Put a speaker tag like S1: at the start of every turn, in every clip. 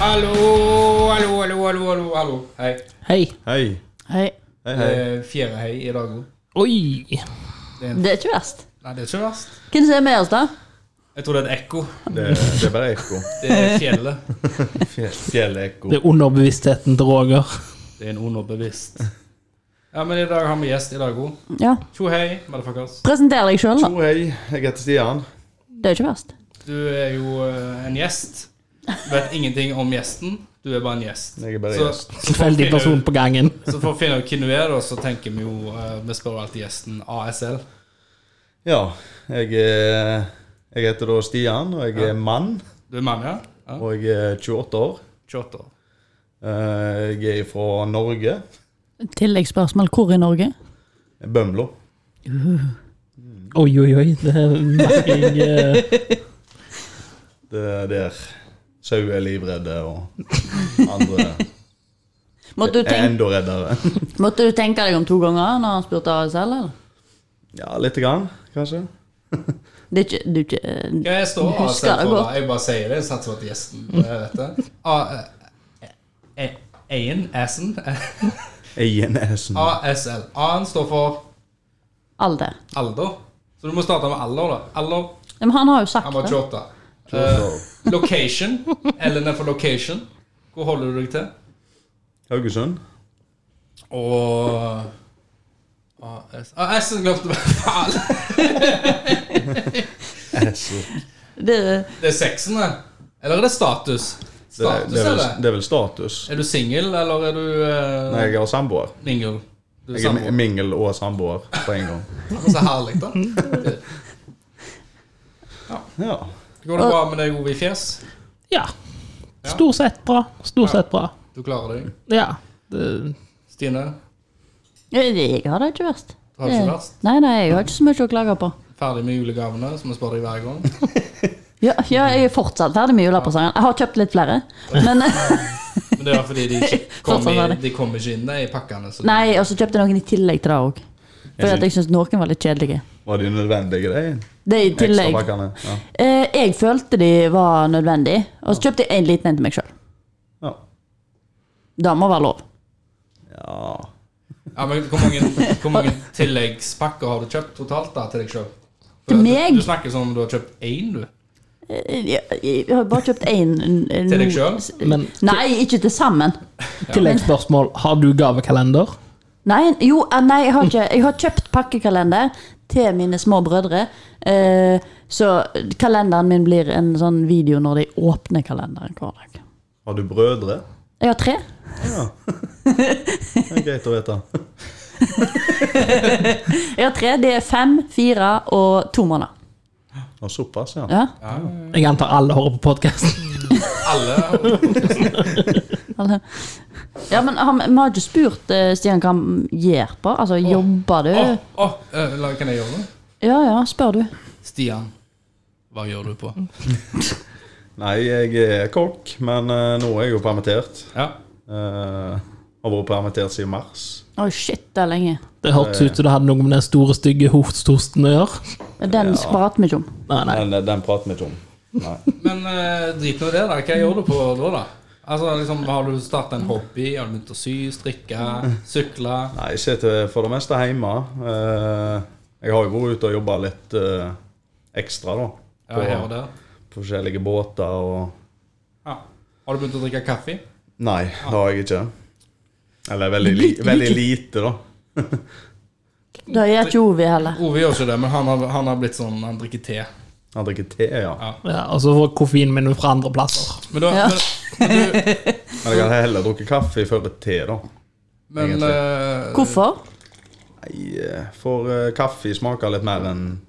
S1: Hallo, hallo, hallo, hallo, hallo, hallo. Hei.
S2: Hei.
S3: Hei.
S2: Hei.
S3: Hei,
S1: Det
S3: hei.
S1: er Fjerde hei i dag òg.
S2: Oi!
S4: Det er ikke verst.
S1: Nei, det er ikke verst.
S4: Hvem som er med oss, da?
S1: Jeg tror det er et ekko.
S3: Det, det er bare ekko.
S1: Det er fjellet.
S3: Fjell- Fjellekko.
S2: Det er underbevisstheten til Roger.
S1: Det er en underbevisst. Ja, men i dag har vi gjest i dag òg.
S4: Ja.
S1: Tjo hei, motherfuckers.
S4: Presenter deg sjøl,
S3: Jo,
S4: da.
S3: hei. Jeg heter Stian.
S4: Det er ikke verst.
S1: Du er jo eh, en gjest. Du vet ingenting om gjesten. Du er bare en gjest.
S3: Jeg er bare
S1: Så-
S3: gjest.
S1: så for å
S2: Tilfeldig
S1: finne
S2: person
S1: ut-
S2: på gangen.
S1: Så for å finne ut hvem du er, da, så tenker vi jo eh, Vi spør alltid gjesten ASL.
S3: Ja, jeg, er- jeg heter da Stian, og jeg er mann.
S1: Du er mann, ja? ja.
S3: Og jeg er 28 år.
S1: 28 år.
S3: Eh, Jeg er fra Norge.
S4: Tilleggsspørsmål. Hvor i Norge?
S3: Bømlo.
S2: Oi, oi, oi. Det er merking eh,
S3: Det er der sau er livredde, og andre
S4: Måtte
S3: er
S4: du, tenke,
S3: enda reddere.
S4: måtte du tenke deg om to ganger når han spurte ASL, eller?
S3: Ja, lite grann, kanskje.
S4: Det er ikke, du, er ikke eh,
S1: Ja, jeg står
S4: Jeg
S1: ASL
S4: husker det
S1: for
S4: godt.
S1: deg. Jeg bare sier det. Jeg satser på at gjesten eh, vet det. Ein, assen
S3: Eienesen.
S1: ASL. A-en står for
S4: alder.
S1: alder. Så du må starte med alder, da. Alder.
S4: Ja, Men han har jo sagt
S1: Han var
S4: det.
S1: 28. Eh, location. L-en er for location. Hvor holder du deg til?
S3: Haugesund.
S1: Og AS Ah, S-en glemte jeg. Faen!
S3: Esen.
S4: det.
S1: Det er sexen, det. Eller er det status?
S3: Det, er-
S1: Status,
S3: det, er
S1: er
S3: vel-
S1: det?
S3: det er vel status.
S1: Er du singel, eller er du eh,
S3: Nei, jeg har samboer.
S1: mingle? Du er
S3: Jeg er
S1: samboer.
S3: mingel og samboer på en gang.
S1: Så herlig, da.
S3: Ja.
S1: Går det bra med deg, Ove i fjes?
S2: Ja. Stort sett bra. Stort sett bra.
S1: Du klarer deg.
S2: Ja. Det,
S1: Stine,
S4: Jeg har det ikke verst.
S1: du har det
S4: Det-
S1: ikke verst.
S4: Nei, nei, jeg har ikke så mye å klage på.
S1: Ferdig med julegavene, som jeg spør deg hver gang.
S4: Ja, ja, jeg er fortsatt ferdig med julepresangene. Jeg har kjøpt litt flere. Men
S1: Men det er fordi de ikke kom,
S4: Fortsatt
S1: i,
S4: ferdig.
S1: de kom ikke inn nei, i pakkene. Så
S4: Nei, og så kjøpte jeg noen i tillegg til det òg. Fordi at jeg syns noen var litt kjedelige.
S3: Var de nødvendige, de
S4: Det er i tillegg.
S3: ekstrapakkene? Ja.
S4: Eh, jeg følte de var nødvendige, og så kjøpte jeg en liten en til meg sjøl.
S3: Ja.
S4: Det må være lov.
S3: ja.
S1: Ja, men hvor mange, hvor mange tilleggspakker har du kjøpt totalt da, til deg sjøl?
S4: Til meg?
S1: Du, du snakker som om du har kjøpt én, du.
S4: Eh, Jeg, jeg har bare kjøpt én.
S1: Til deg sjøl?
S2: men
S4: Nei, ikke til sammen.
S2: tilleggsspørsmål. Har du gavekalender?
S4: Nei, jo, eh, nei, jeg har ikke Jeg har kjøpt pakkekalender til mine små brødre. Eh, så kalenderen min blir en sånn video når de åpner kalenderen hver dag.
S3: Har du brødre?
S4: Jeg har tre.
S3: Ja. Det er greit å vite.
S4: Jeg har tre, Det er fem, fire og to måneder.
S3: Og såpass, ja.
S4: Ja,
S2: Jeg antar alle hører på podkasten.
S1: Alle?
S4: alle. ja men har, vi- vi har ikke spurt eh, Stian hva han gjør på. Altså, jobber du?
S1: Åh, åh, eh, la- kan jeg gjøre det?
S4: Ja ja, spør du.
S1: Stian, hva gjør du på?
S3: Nei, jeg er kokk, men eh, nå er jeg jo permittert.
S1: Ja.
S3: Eh, har vært permittert siden mars.
S4: Å, shit, det er lenge.
S2: Det hørtes ut som det hadde noe med den store, stygge hofttosten å gjøre.
S4: Den ja. prater vi ikke om.
S2: Nei, nei.
S3: Men eh, den prater vi ikke om. Nei.
S1: Men eh, drit nå i det, da. Hva gjør du på da? da? Altså, liksom, Har du starta en hobby? Har du begynt å sy, strikke, sykle?
S3: Nei, jeg sitter for det meste hjemme. Eh, jeg har jo vært ute og jobba litt eh, ekstra, da.
S1: Ja, her og der.
S3: på forskjellige båter og
S1: Ja. Har du begynt å drikke kaffe?
S3: Nei, det har jeg ikke. Eller veldig, li veldig lite, da.
S4: Det gjør ikke Ovi heller.
S1: Ove gjør ikke det, men han har, han har blitt sånn Han drikker te.
S3: Han drikker te, ja.
S1: Ja.
S2: Ja, og så får koffeinen min fra andre plasser.
S1: Men, da,
S4: Ja.
S1: men, men, du,
S3: Men jeg har heller drukket kaffe før et te, da.
S1: men eh,
S4: Hvorfor?
S3: Nei, eh, for eh, kaffe smaker litt mer enn te.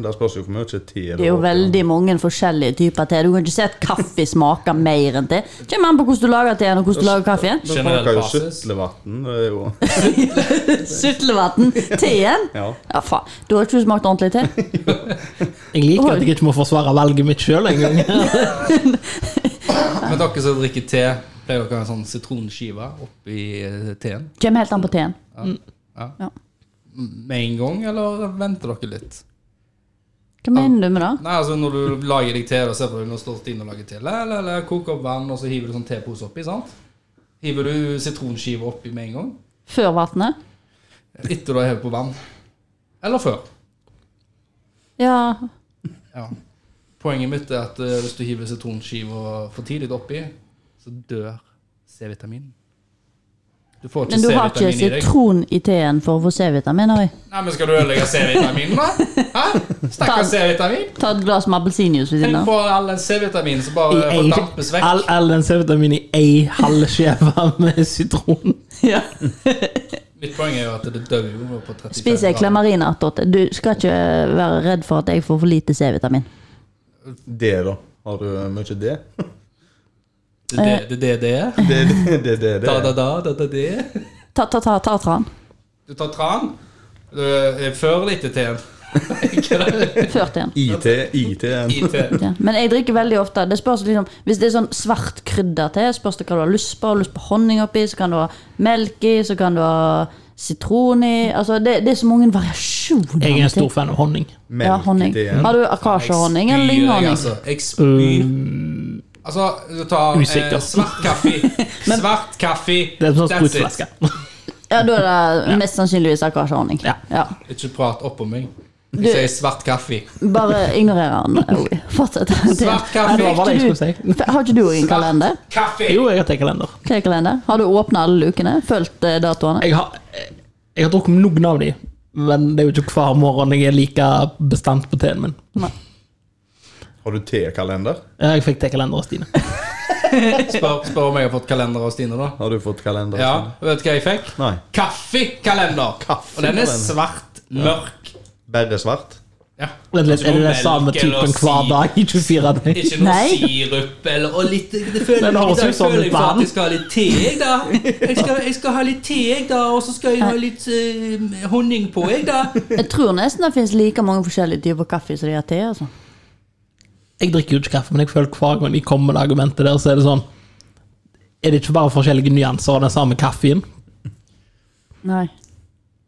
S3: Der spørs jo hvor mye te
S4: Det er jo veldig mange forskjellige typer te. Du kan ikke si at kaffe smaker mer enn te. Kommer an på hvordan du lager teen og hvordan du lager kaffen.
S3: Det
S1: Generell
S3: smaker jo
S1: basis.
S3: sutlevann. Det er jo
S4: Sutlevann. Teen?
S3: Ja.
S4: Ja, faen. Du har ikke smakt ordentlig te?
S2: Jeg liker at jeg ikke må forsvare valget mitt sjøl engang.
S1: men dere som drikker te, pleier dere å ha en sånn sitronskive oppi eh, teen
S4: Kommer helt an på teen.
S1: Mm. med en gang, eller venter dere litt?
S4: Hva mener du med det?
S1: Nei, altså Når du lager deg te, og ser på deg når du står inne og lager te, la, la, la, koker opp vann, og så hiver du sånn tepose oppi, sant? Hiver du sitronskive oppi med en gang?
S4: Før vannet?
S1: Etter du har hevet på vann. Eller før.
S4: Ja.
S1: Ja. Poenget mitt er at eh, hvis du hiver sitronskiva for tidlig oppi, så dør C-vitamin. Du får ikke
S4: Men du har ikke
S1: C-vitamin i deg.
S4: sitron i teen for å få C-vitamin? har jeg.
S1: Nei, men Skal du ødelegge C-vitaminen, da? Hæ? Stakkars C-vitamin?
S4: Ta et glass med appelsinjuice ved siden
S1: Tenk
S4: av.
S1: på all den C-vitaminen som bare
S2: I ei-
S1: fordampes vekk.
S2: all, all den C-vitamin i ei halv skive med sitron.
S4: Ja.
S1: Mitt poeng er jo at det dør jo nå på 35
S4: Spiser jeg
S1: grader.
S4: klamarina attåt? Du skal ikke være redd for at jeg får for lite C-vitamin.
S3: Det, da. Har du mye det?
S1: Det er det det, det er.
S3: Det er det, det, det,
S1: Da, da,
S3: det.
S1: da, da, da, det.
S4: Ta-ta-ta-tran.
S1: Du tar tran. Du er før eller etter teen? Ikke det?
S4: Før teen.
S3: IT, IT-en.
S1: I teen.
S4: Ja. Men jeg drikker veldig ofte Det spørs liksom Hvis det er sånn svart krydder til, spørs det hva du har lyst på. Har du lyst på honning oppi, så kan du ha melk i, så kan du ha sitron i Altså, det, det er så mange variasjoner.
S2: Jeg er
S4: med
S2: en stor
S4: ting.
S2: fan av honning.
S4: ja, honning.
S3: Melk-IT-en.
S4: Har du akasjehonning eller
S1: Spyr jeg,
S4: lynghonning?
S1: Altså. Jeg spyr. Altså, du tar
S2: Um, Usikker.
S1: eh, svart kaffe. svart kaffe.
S2: Det er en sånn
S1: That's it.
S2: sprutflaske.
S4: Ja, da er det mest sannsynligvis akasjehonning.
S2: Ja.
S4: Ja.
S1: Ikke prat oppå meg.
S4: Du-
S1: Jeg sier svart kaffe.
S4: Bare ignorer han. Oi, Fortsett.
S1: Svart
S2: Nei,
S1: kaffe.
S2: det var bare det jeg
S4: Fikk
S2: skulle si.
S4: Har ikke du òg en kalender?
S1: Kaffe!
S2: Jo, jeg har tatt kalender.
S4: Hva er kalender? Har du åpna alle lukene? Fulgt eh, datoene?
S2: Jeg har, eh, jeg har drukket noen av de, men det er jo ikke hver morgen jeg er like bestandt på teen min.
S3: Har du T-kalender?
S2: Ja, Jeg fikk tekalender av Stine.
S1: Spør, spør om jeg har fått kalender av Stine, da.
S3: Har du fått kalender?
S1: Ja, Vet du hva jeg fikk?
S3: Nei.
S1: Kaffekalender. Og den er svart, mørk.
S3: Bare svart?
S1: Ja.
S2: Vent litt,
S1: Ikke
S2: Er det
S1: noe
S2: den samme
S1: melk eller
S2: typen hver
S1: si-
S2: dag i 24 dager?
S1: Ikke noe
S4: Nei.
S1: sirup eller og litt Det føler
S2: Men det
S1: jeg,
S2: høres
S1: jeg,
S2: ut som
S1: føler jeg
S2: et
S1: for
S2: vann.
S1: at jeg skal ha litt te, jeg, da. Jeg skal, jeg skal ha litt te, jeg, da. Og så skal jeg ha litt eh, honning på, jeg, da.
S4: Jeg tror nesten det finnes like mange forskjellige typer kaffe som de har te. altså.
S2: Jeg drikker jo ikke kaffe, men jeg føler hver gang de kommer med det argumentet der, så er det sånn Er det ikke bare forskjellige nyanser av den samme kaffen?
S4: Nei.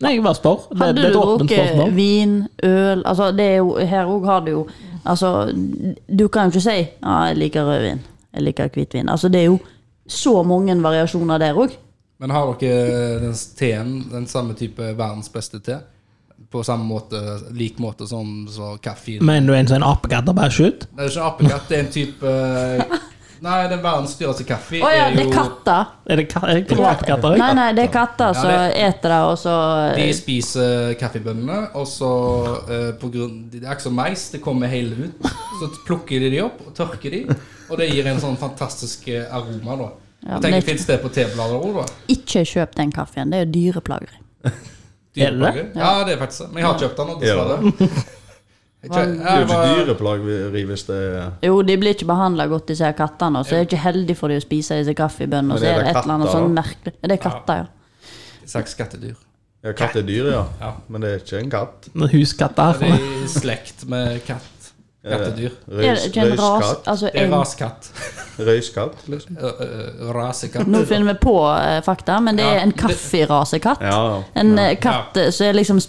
S2: Nei, jeg bare spør. Det,
S4: Hadde
S2: det er
S4: du
S2: et åpent
S4: drukket
S2: spørsmål.
S4: vin, øl altså det er jo, Her òg har du jo altså, Du kan jo ikke si ja, 'jeg liker rødvin', 'jeg liker hvitvin'. Altså, det er jo så mange variasjoner der òg.
S1: Men har dere eh, den teen, den samme type verdens beste te? På samme måte, lik måte som så kaffe? Det
S2: Men du er en sånn apekatt og bare skyt?
S1: er ikke apekatt, det er en type eh, Nei, den verdens dyreste kaffe
S4: Å ja,
S1: er
S4: det er
S1: jo
S4: katter.
S2: Er det ka jeg tror
S4: Ja.
S2: apekatter
S4: Nei,
S2: jeg.
S4: nei, det er katter som
S1: Ja, det-
S4: eter det, og så eh,
S1: De spiser kaffebønnene, og så eh, på grunn, Det er ikke som mais, det kommer hele ut. Så plukker de de opp og tørker de, og det gir en sånn fantastisk eh, aroma. da Jeg
S4: Ja, men
S1: tenker,
S4: det-
S1: Fins det på teblader òg, da?
S4: Ikke kjøp den kaffen. Det er jo dyreplageri.
S2: Er det det?
S1: Dyreplager? Ja, det er faktisk det. Men jeg har kjøpt den, og
S3: Ja.
S1: dessverre. Jeg kjø-
S3: Det er
S1: jeg
S3: jo ikke
S1: var-
S3: dyreplageri hvis det er
S4: Jo, de blir ikke behandla godt, disse her kattene. Og så er det ikke heldig for de å spise disse kaffebønnene. Og så
S3: Men er
S4: er det
S3: det
S4: et eller annet
S3: katter,
S4: sånn
S3: da?
S4: merkelig Ja, Det er katter, ja.
S1: Sagt skattedyr.
S3: Ja, katt er dyr, ja.
S1: Ja.
S3: Men det er ikke en katt.
S2: Noen Huskatter.
S1: Det er i slekt med katt.
S3: Er det-
S1: Kattedyr.
S4: Er det
S3: Røys,
S4: ikke en ras
S3: røyskatt.
S4: altså,
S1: Det er
S4: en,
S1: raskatt.
S3: Røyskatt, liksom.
S1: Ø, ø, Rasekatt.
S4: Nå finner vi på eh, fakta, men det
S1: Ja,
S4: er en
S1: det-
S4: kaffirasekatt.
S3: Ja,
S4: En eh, katt eh, som er liksom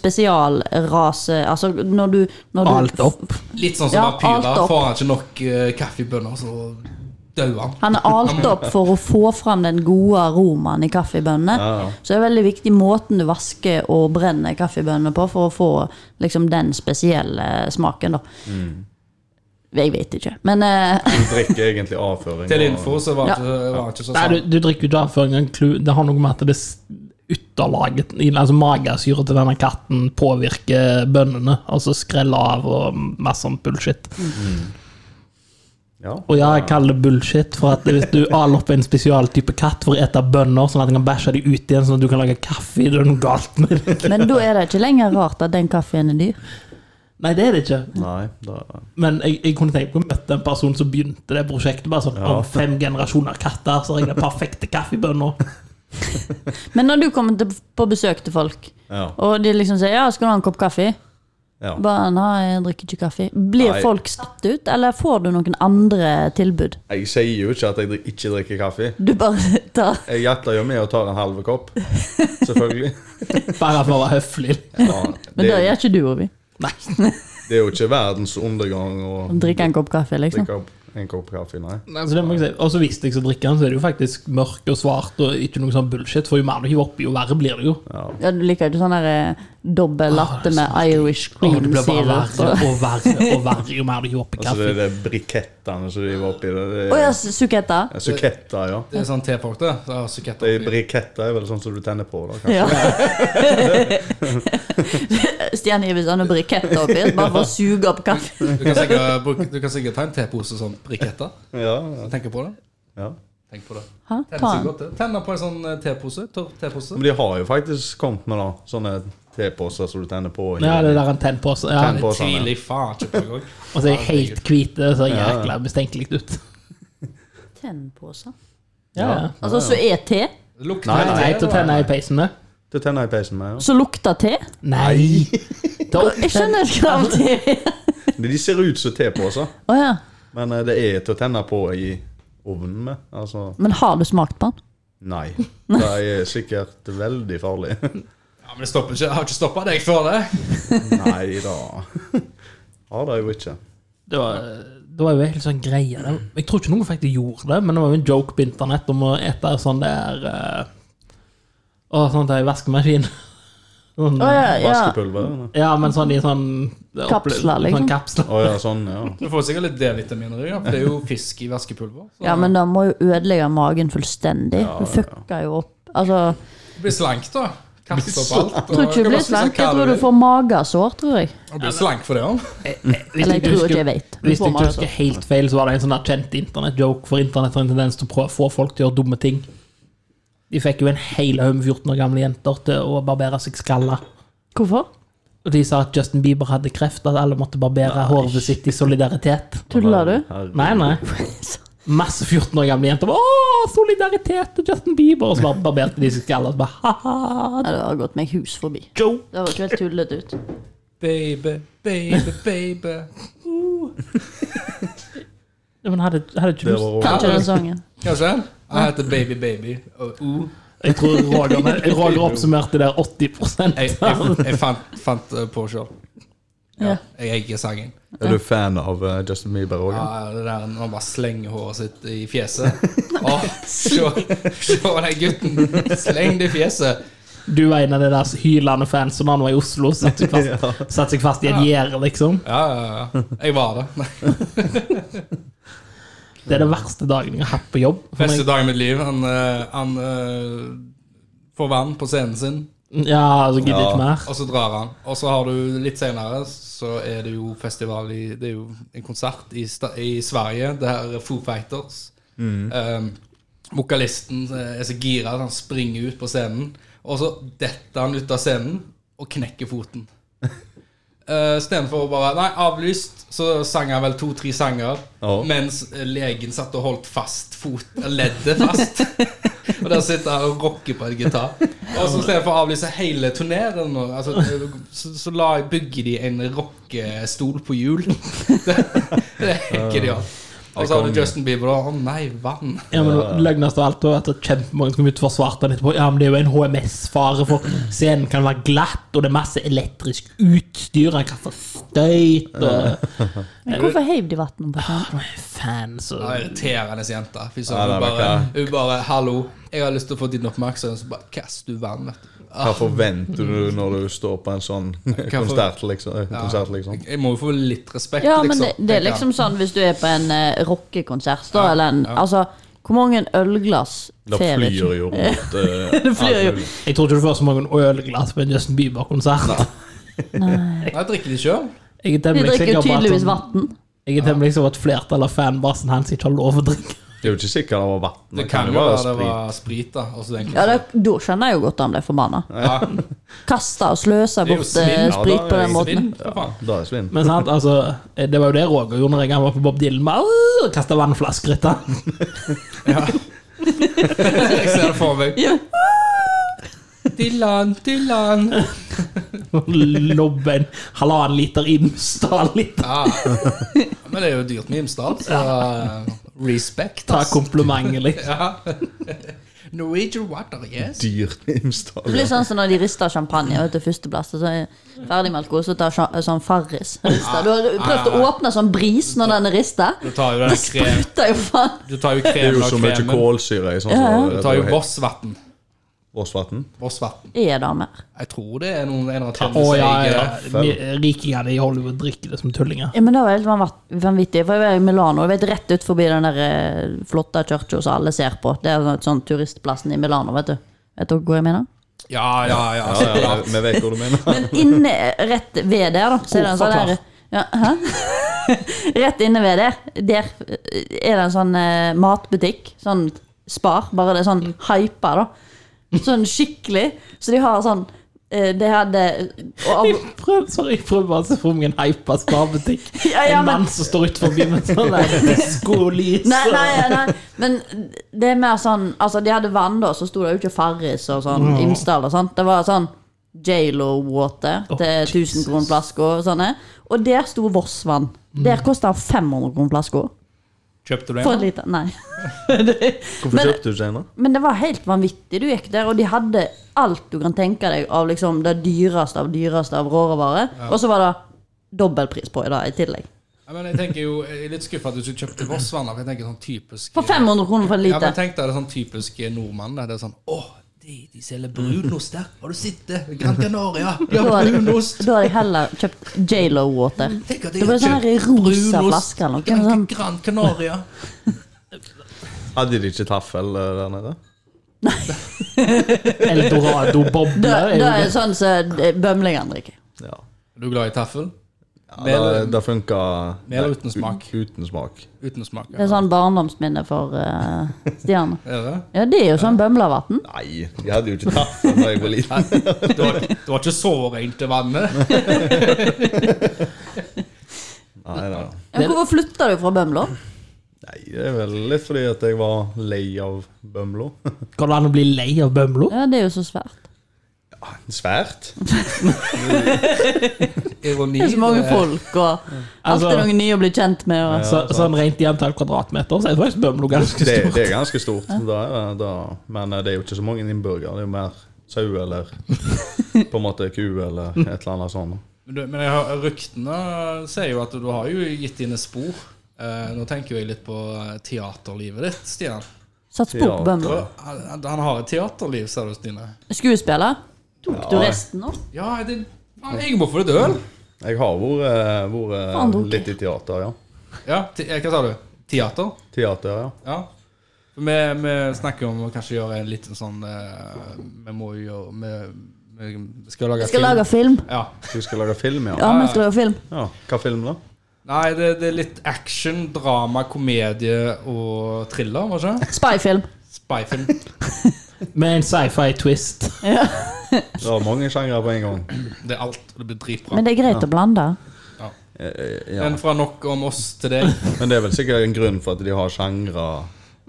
S4: spesialrase Altså når du, når du
S2: Alt opp.
S1: Litt sånn som
S4: Ja, alt
S1: vampyrer.
S4: opp.
S1: Får han ikke nok eh, kaffebønner, så dauer han.
S4: Han er alt opp for å få fram den gode aromaen i kaffebønnene.
S3: Ja.
S4: Så det er veldig viktig måten du vasker og brenner kaffebønnene på for å få liksom, den spesielle eh, smaken. Da.
S3: Mm.
S4: Jeg vet ikke, men eh,
S3: Du drikker egentlig avføring.
S1: Til
S3: og-
S1: info så var
S4: Ja.
S1: han ikke, var han ikke så
S2: Nei, du,
S1: sann.
S2: du drikker jo ikke avføring av en klu. Det har noe med at det s- ytterlaget, i- altså magesyret til denne katten, påvirker bønnene. Altså skreller av og masse sånn bullshit.
S3: Ja.
S2: Og ja, jeg kaller det bullshit, for at hvis du aler opp en spesialtype katt for å ete bønner, sånn at den kan bæsje dem ut igjen, sånn at du kan lage kaffe, det er noe galt med det.
S4: men da er det ikke lenger rart at den kaffen er dyr.
S2: Nei, det er det ikke.
S3: Nei, da
S2: Men jeg, jeg kunne tenkt meg å møte en person som begynte det prosjektet. Bare sånn,
S3: Ja.
S2: Om fem generasjoner katter, så har jeg den perfekte kaffebønner.
S4: Men når du kommer til, på besøk til folk,
S3: Ja.
S4: og de liksom sier ja, 'skal du ha en kopp kaffe?'
S3: ja.
S4: Bare nei, jeg drikker ikke kaffe. Blir
S3: Nei.
S4: folk satt ut, eller får du noen andre tilbud?
S3: Jeg sier jo ikke at jeg drik- ikke drikker kaffe.
S4: Du bare tar
S3: Jeg jatter jo med og tar en halv kopp. Selvfølgelig.
S2: Bare for å være høflig.
S3: Ja,
S4: Men
S3: det,
S4: det gjør ikke du, Ovi.
S2: Nei.
S3: det Det er jo ikke verdens undergang å
S4: Drikke en kopp kaffe, liksom.
S3: drikke opp en kopp kaffe, nei.
S2: Nei, så det må jeg si. Og så hvis jeg skal drikke den, så er det jo faktisk mørk og svart og ikke noe sånn bullshit. For jo mer du hiver oppi, jo verre blir det jo.
S4: Ja, du liker ikke sånn der eh, dobbel latte med Irish
S2: Og
S4: cream
S2: det blir bare
S4: syrup.
S2: verre og verre og verre jo mer du hiver oppi
S3: Altså
S2: kaffe.
S3: det er de brikettene som de var oppi det. det
S4: Å
S3: er,
S4: ja, suketta.
S3: ja, Suketter, ja.
S1: Det er sånn tefolk, det. det er suketter
S3: De
S1: oppi.
S3: briketter er vel sånn som du tenner på, da, kanskje.
S4: Ja. Stian hiver sånne briketter oppi, bare for å suge opp kaffe.
S1: Du kan sikkert, bruke- du kan sikkert ta en tepose som briketter.
S3: Ja, ja,
S1: Tenk på det.
S3: ja.
S1: Tenk på det.
S4: Hæ?
S1: Tenner
S4: Ta
S1: seg
S4: den.
S1: godt, det. Tenner på en sånn eh, tepose. Tørr tepose.
S3: Men de har jo faktisk kommet med da, sånne teposer som du tenner på. i-
S2: Ja, det der en tennpose. Ja.
S3: Tenn-
S1: Det
S3: på sånn, ja.
S1: tviler jeg faen ikke på engang.
S2: Og så er jeg helt hvite, så jeg jækla mistenkelig ut.
S4: Tennposer.
S2: Ja, ja.
S4: Altså, så er te.
S1: Det lukter
S2: Nei,
S1: helt
S2: nei,
S1: til,
S2: til å
S1: da.
S2: tenne i peisen med.
S3: Det tenner jeg i peisen med, ja.
S4: Så lukter te.
S2: Nei! Da-
S4: Jeg skjønner ikke hva det er.
S3: De de ser ut som teposer,
S4: Å ja.
S3: men eh, det er til å tenne på i ovnen med. Altså,
S4: Men har du smakt på den?
S3: nei. Det er sikkert veldig farlig.
S1: Ja, men det stopper ikke. Jeg har ikke stoppa deg før det.
S3: Nei da. Har det jo ikke.
S2: Det var, det var jo helt sånn greie. Det- Jeg tror ikke noen faktisk gjorde det, men det var jo en joke på internett om å ete sånn der eh, Å, sånn der i vaskemaskin. Sånn,
S4: Å ja, ja.
S3: Vaskepulver. eller?
S2: Ja, men sånn i sånn
S4: Kapsler, liksom.
S2: Sånn kapsler.
S3: Å ja, sånn, ja.
S1: Du får sikkert litt D-vitaminer i det, for det er jo fisk i vaskepulver. Så
S4: Ja, men da må jo ødelegge magen fullstendig. Du fucker jo opp. Altså,
S1: du blir slank, da. Kaster opp alt. og
S4: jeg tror ikke
S1: kan
S4: du
S1: bare
S4: blir
S1: spise hva
S4: slank. Jeg tror du
S1: vil.
S4: får magesår, tror jeg.
S1: Du blir slank for det òg.
S2: Hvis
S4: Eller jeg tror ikke
S2: husker-
S4: jeg vet. Du
S2: Hvis jeg
S4: får
S2: ikke
S4: magesår.
S2: husker helt feil, så var det en sånn der kjent internettjoke, for internett har en tendens til å prøve å få folk til å gjøre dumme ting. De fikk jo en hel haug med 14 år gamle jenter til å barbere seg skalla.
S4: Hvorfor?
S2: Og de sa at Justin Bieber hadde kreft, at alle måtte barbere håret sitt i solidaritet.
S4: Tuller du?
S3: Herregud.
S2: Nei, nei. Masse 14 år gamle jenter. bare, Åh, solidaritet til Justin Bieber! Og så bare barberte de seg skalla. og så bare, «Haha,
S4: Ja, det har gått meg hus forbi.
S2: Joe.
S4: Det høres jo helt tullete ut.
S1: Baby, baby, baby.
S2: Ja, Men hadde, hadde ikke
S3: Det
S2: lyst.
S3: var også-
S4: Kanskje den sangen.
S1: Kanskje? Jeg heter Baby Baby. Og uh,
S2: Jeg tror Roger, Roger oppsummerte der 80
S1: jeg, jeg, jeg fant, fant eh, på sjøl.
S4: Ja.
S1: Jeg eier sangen.
S3: Er du fan av eh, Justin Bieber òg?
S1: Ja, det der når han bare slenger håret sitt i fjeset. Åh, se, se den gutten. Sleng det i fjeset.
S2: Du var en av de der hylende fansen da han var i Oslo. Satt seg fast, satt seg fast i et gjerde, liksom.
S1: Ja, ja, ja. Jeg var det. Nei,
S2: Det er den verste dagen jeg har hatt på jobb. For
S1: Beste
S2: meg,
S1: dagen i mitt liv. Han, eh, han eh, får vann på scenen sin,
S2: ja, altså, gidder
S3: Ja.
S2: ikke mer.
S1: og så drar han. Og så har du litt senere, så er det jo festival i Det er jo en konsert i, sta- i Sverige. Det her er Foo Fighters.
S2: Mm.
S1: Um, vokalisten eh, er så gira at han springer ut på scenen, og så detter han ut av scenen og knekker foten. Uh, Istedenfor å bare Nei, avlyst. Så sang han vel to-tre sanger
S3: Ja.
S1: mens eh, legen satt og holdt fast fot, leddet fast. og der sitter han og rocker på en gitar. Og så istedenfor å avlyse hele turneren, og- altså, eh, så, så la, bygger de en rockestol på hjul. det, det er genialt. Og så har du Justin Bieber, da. Å nei, vann.
S2: Ja, men Løgnest av alt var at kjempemange som kom ut og forsvarte han etterpå. Ja, men det er jo en HMS-fare, for scenen kan være glatt, og det er masse elektrisk utstyr, han kaster støyt og
S4: Men hvorfor heiv de vannet på
S1: Ah,
S4: scenen?
S2: Fans og
S1: Ja, Irriterende jente. Fy
S3: Ja,
S1: søren. Hun
S3: det er
S1: bare,
S3: verkelig.
S1: hun bare 'Hallo, jeg har lyst til å få din oppmerksomhet', så bare kast du vann, vet du.
S3: Hva forventer du når du står på en sånn konsert, liksom? eh, konsert, liksom?
S1: Jeg må jo få litt respekt,
S4: Ja, men
S1: liksom.
S4: det, det er
S1: tenker jeg.
S4: liksom sånn hvis du er på en uh, rockekonsert, da, eller en Altså, hvor mange ølglass
S3: Da
S4: ser vi
S3: flyr
S4: ikke?
S3: jo rundt eh,
S4: Det flyr jo.
S3: alt mulig.
S2: Jeg tror ikke du får så mange ølglass på en Justin Bieber-konsert.
S1: Nei, jeg drikker de sjøl.
S2: Jeg er
S4: De
S2: temmelig
S4: drikker
S2: sikker
S4: jo
S2: på at
S4: tydeligvis
S2: sånn-
S4: vann.
S2: jeg er temmelig sikker på at flertallet av fanbasen hans ikke har lov å drikke.
S3: Det er jo ikke sikkert det var vann.
S1: Det kan jo være det var sprit, da. Og så den
S4: Ja, da, da skjønner jeg jo godt han ble forbanna.
S1: Ja,
S4: Kasta og sløsa
S1: Det er jo
S4: bort
S1: svinn,
S4: eh,
S1: ja,
S4: sprit
S3: da
S4: på
S3: er
S4: den
S3: det
S4: måten.
S1: svinn, for faen.
S3: Da er det svinn.
S2: Men sant, altså, det var jo det Roger gjorde når jeg var på Bob Dylan. Bare kasta vannflasker etter han.
S1: Jeg ser det for meg. Dylan, Dylan.
S2: Lobben halvannen liter inn, stal liter.
S1: Ja. Men det er jo dyrt med Imsdal, så eh, respekt.
S2: Ta
S1: ass.
S2: komplimentet litt.
S1: Ja. Norwegian water, yes.
S3: Dyrt i Imsdal.
S4: Det blir sånn som når de rister champagne vet, til førsteplass. og Så er jeg ferdig med alkohol, så tar sja- sånn Farris.
S1: Ah.
S4: rister. Du har prøvd å åpne sånn bris når den er rista.
S1: Du tar jo
S4: Det
S1: Ah. den krem,
S4: spruter jo faen.
S1: du tar jo
S3: Det er
S1: kremen
S3: jo så
S1: og
S3: mye
S1: kremen.
S3: kålsyre i sånn.
S4: Ja, ja.
S1: Du tar jo Vossvatn.
S3: Vossvatn.
S1: Vossvatn.
S4: Er det mer?
S1: Jeg tror det er noen en eller annen
S2: Å
S1: kjendis
S2: ja,
S1: jeg
S2: ja.
S1: er-
S2: Vi- Rikingene i Hollywood drikker det som tullinger.
S4: Ja, men det var helt vanvatt- vanvittig. For jeg var i Milano, du vet, rett ut forbi den der eh, flotte kirka som alle ser på. Det er sånn, sånn turistplassen i Milano, vet du. Vet dere hva jeg mener?
S1: Ja, ja, ja.
S3: Ja,
S1: så
S3: ja, ja,
S1: klart.
S3: vi vet hvor du mener.
S4: Men inne, rett ved der, da, så er det en sånn
S2: Hvorfor
S4: der ja, hæ? Rett inne ved der, der er det en sånn eh, matbutikk. Sånn Spar. Bare det er sånn hypa, da. Sånn skikkelig. Så de har sånn eh, De hadde og
S2: Jeg
S4: av,
S2: prøver, sorry, jeg prøver bare å se for meg en hypa sparebutikk.
S4: ja, ja,
S2: en
S4: men,
S2: mann som står ut forbi med sånn diskolys.
S4: nei, nei, nei, men det er mer sånn Altså, de hadde vann, da, så sto det jo ikke Farris og sånn Imsdal og sånt. Det var sånn J.Lo-water
S2: Å,
S4: til 1000
S2: Jesus.
S4: kroner flaska og sånne. Og der sto Voss vann.
S2: Mm.
S4: Der kosta 500 kroner flaska.
S1: Kjøpte du
S4: For en
S1: en?
S4: liten Nei.
S3: Hvorfor kjøpte du ikke en, da?
S4: Men det var helt vanvittig. Du gikk der, og de hadde alt du kan tenke deg av liksom det dyreste av dyreste av råvarer. Og så var det dobbeltpris på i dag i tillegg.
S1: Ja, men jeg tenker jo, jeg er litt skuffa at du ikke kjøpte Vossvann. da, for Jeg tenker sånn typisk
S4: For 500 kroner for en
S1: Ja, men
S4: liter.
S1: tenk deg det er sånn typisk nordmann. da. Det er sånn Å, de, de selger brunost der. Har du sett det? Gran Canaria. De
S4: Da
S1: har
S4: hadde,
S1: brunost.
S4: da hadde jeg heller kjøpt J.Lo-water.
S1: Tenk at de
S4: Det var
S1: har
S4: sånn her i
S1: kjøpt
S4: rosa
S1: brunost.
S4: flaske eller noe,
S1: Gran-
S4: sånn.
S1: Gran Canaria.
S3: Hadde de ikke taffel eh, der nede?
S4: Det, det er
S2: Eldorado-boble.
S4: sånn som så bømlingene drikker.
S3: Ja.
S1: Er du glad i taffel?
S3: ja det,
S1: Mel-
S3: det funka
S1: Mel uten smak.
S3: Uten smak.
S1: Uten smak.
S4: Det
S1: Ja.
S4: er sånn barndomsminne for uh, Stian.
S1: Er det?
S4: Ja, det er jo sånn bømlevann.
S3: Nei, de hadde jo ikke taffel da jeg var liten.
S1: Det var, det var ikke så rent det vannet.
S3: Nei, nei.
S4: Ja, hvorfor flytta du fra Bømlo?
S3: nei, det er vel litt fordi at jeg var lei av Bømlo.
S2: Går det an å bli lei av Bømlo?
S4: Ja, det er jo så svært.
S3: Ja, Svært.
S1: Ironi.
S4: Det er så mange
S1: eh,
S4: folk, og alltid
S2: Altså-
S4: noen nye å bli kjent med. Og.
S2: Så, sånn rent i antall kvadratmeter, så er faktisk Bømlo ganske
S3: Det,
S2: stort.
S3: det er ganske stort. Da, er det- da. Men eh, det er jo ikke så mange innbyggere. Det er jo mer sau eller på en måte ku eller et eller annet sånt.
S1: Men, du, men jeg har, ryktene sier jo at du har jo gitt dine spor. Eh, nå tenker jo jeg litt på eh, teaterlivet ditt, Stian.
S4: Satt spor på Bømlo.
S1: Han, han har et teaterliv, ser du, Stine.
S4: Skuespiller? Tok du
S3: Ja.
S4: resten òg?
S1: Ja, det, faen, jeg må få litt øl.
S3: Jeg har vært, vært
S4: Faen, ok.
S3: litt i teater, ja.
S1: Ja, te, eh, hva sa du? Teater?
S3: Teater, ja.
S1: Ja. Vi, vi snakker om å kanskje gjøre en liten sånn eh, Vi må jo gjøre vi, vi skal lage
S4: Jeg skal lage film.
S1: Ja.
S3: Du skal lage film, ja?
S4: Ja, vi skal lage film.
S3: ja. Hva film, da?
S1: Nei, det, det er litt action, drama, komedie og thriller, var det ikke?
S4: Spyfilm.
S1: Spyfilm.
S2: Med en sci-fi twist.
S3: Det var mange sjangere på en gang.
S1: Det er alt, og det blir dritbra.
S4: Men det er greit å blande.
S3: Eh, Ja.
S1: Men fra nok om oss til deg.
S3: Men det er vel sikkert en grunn for at de har sjangre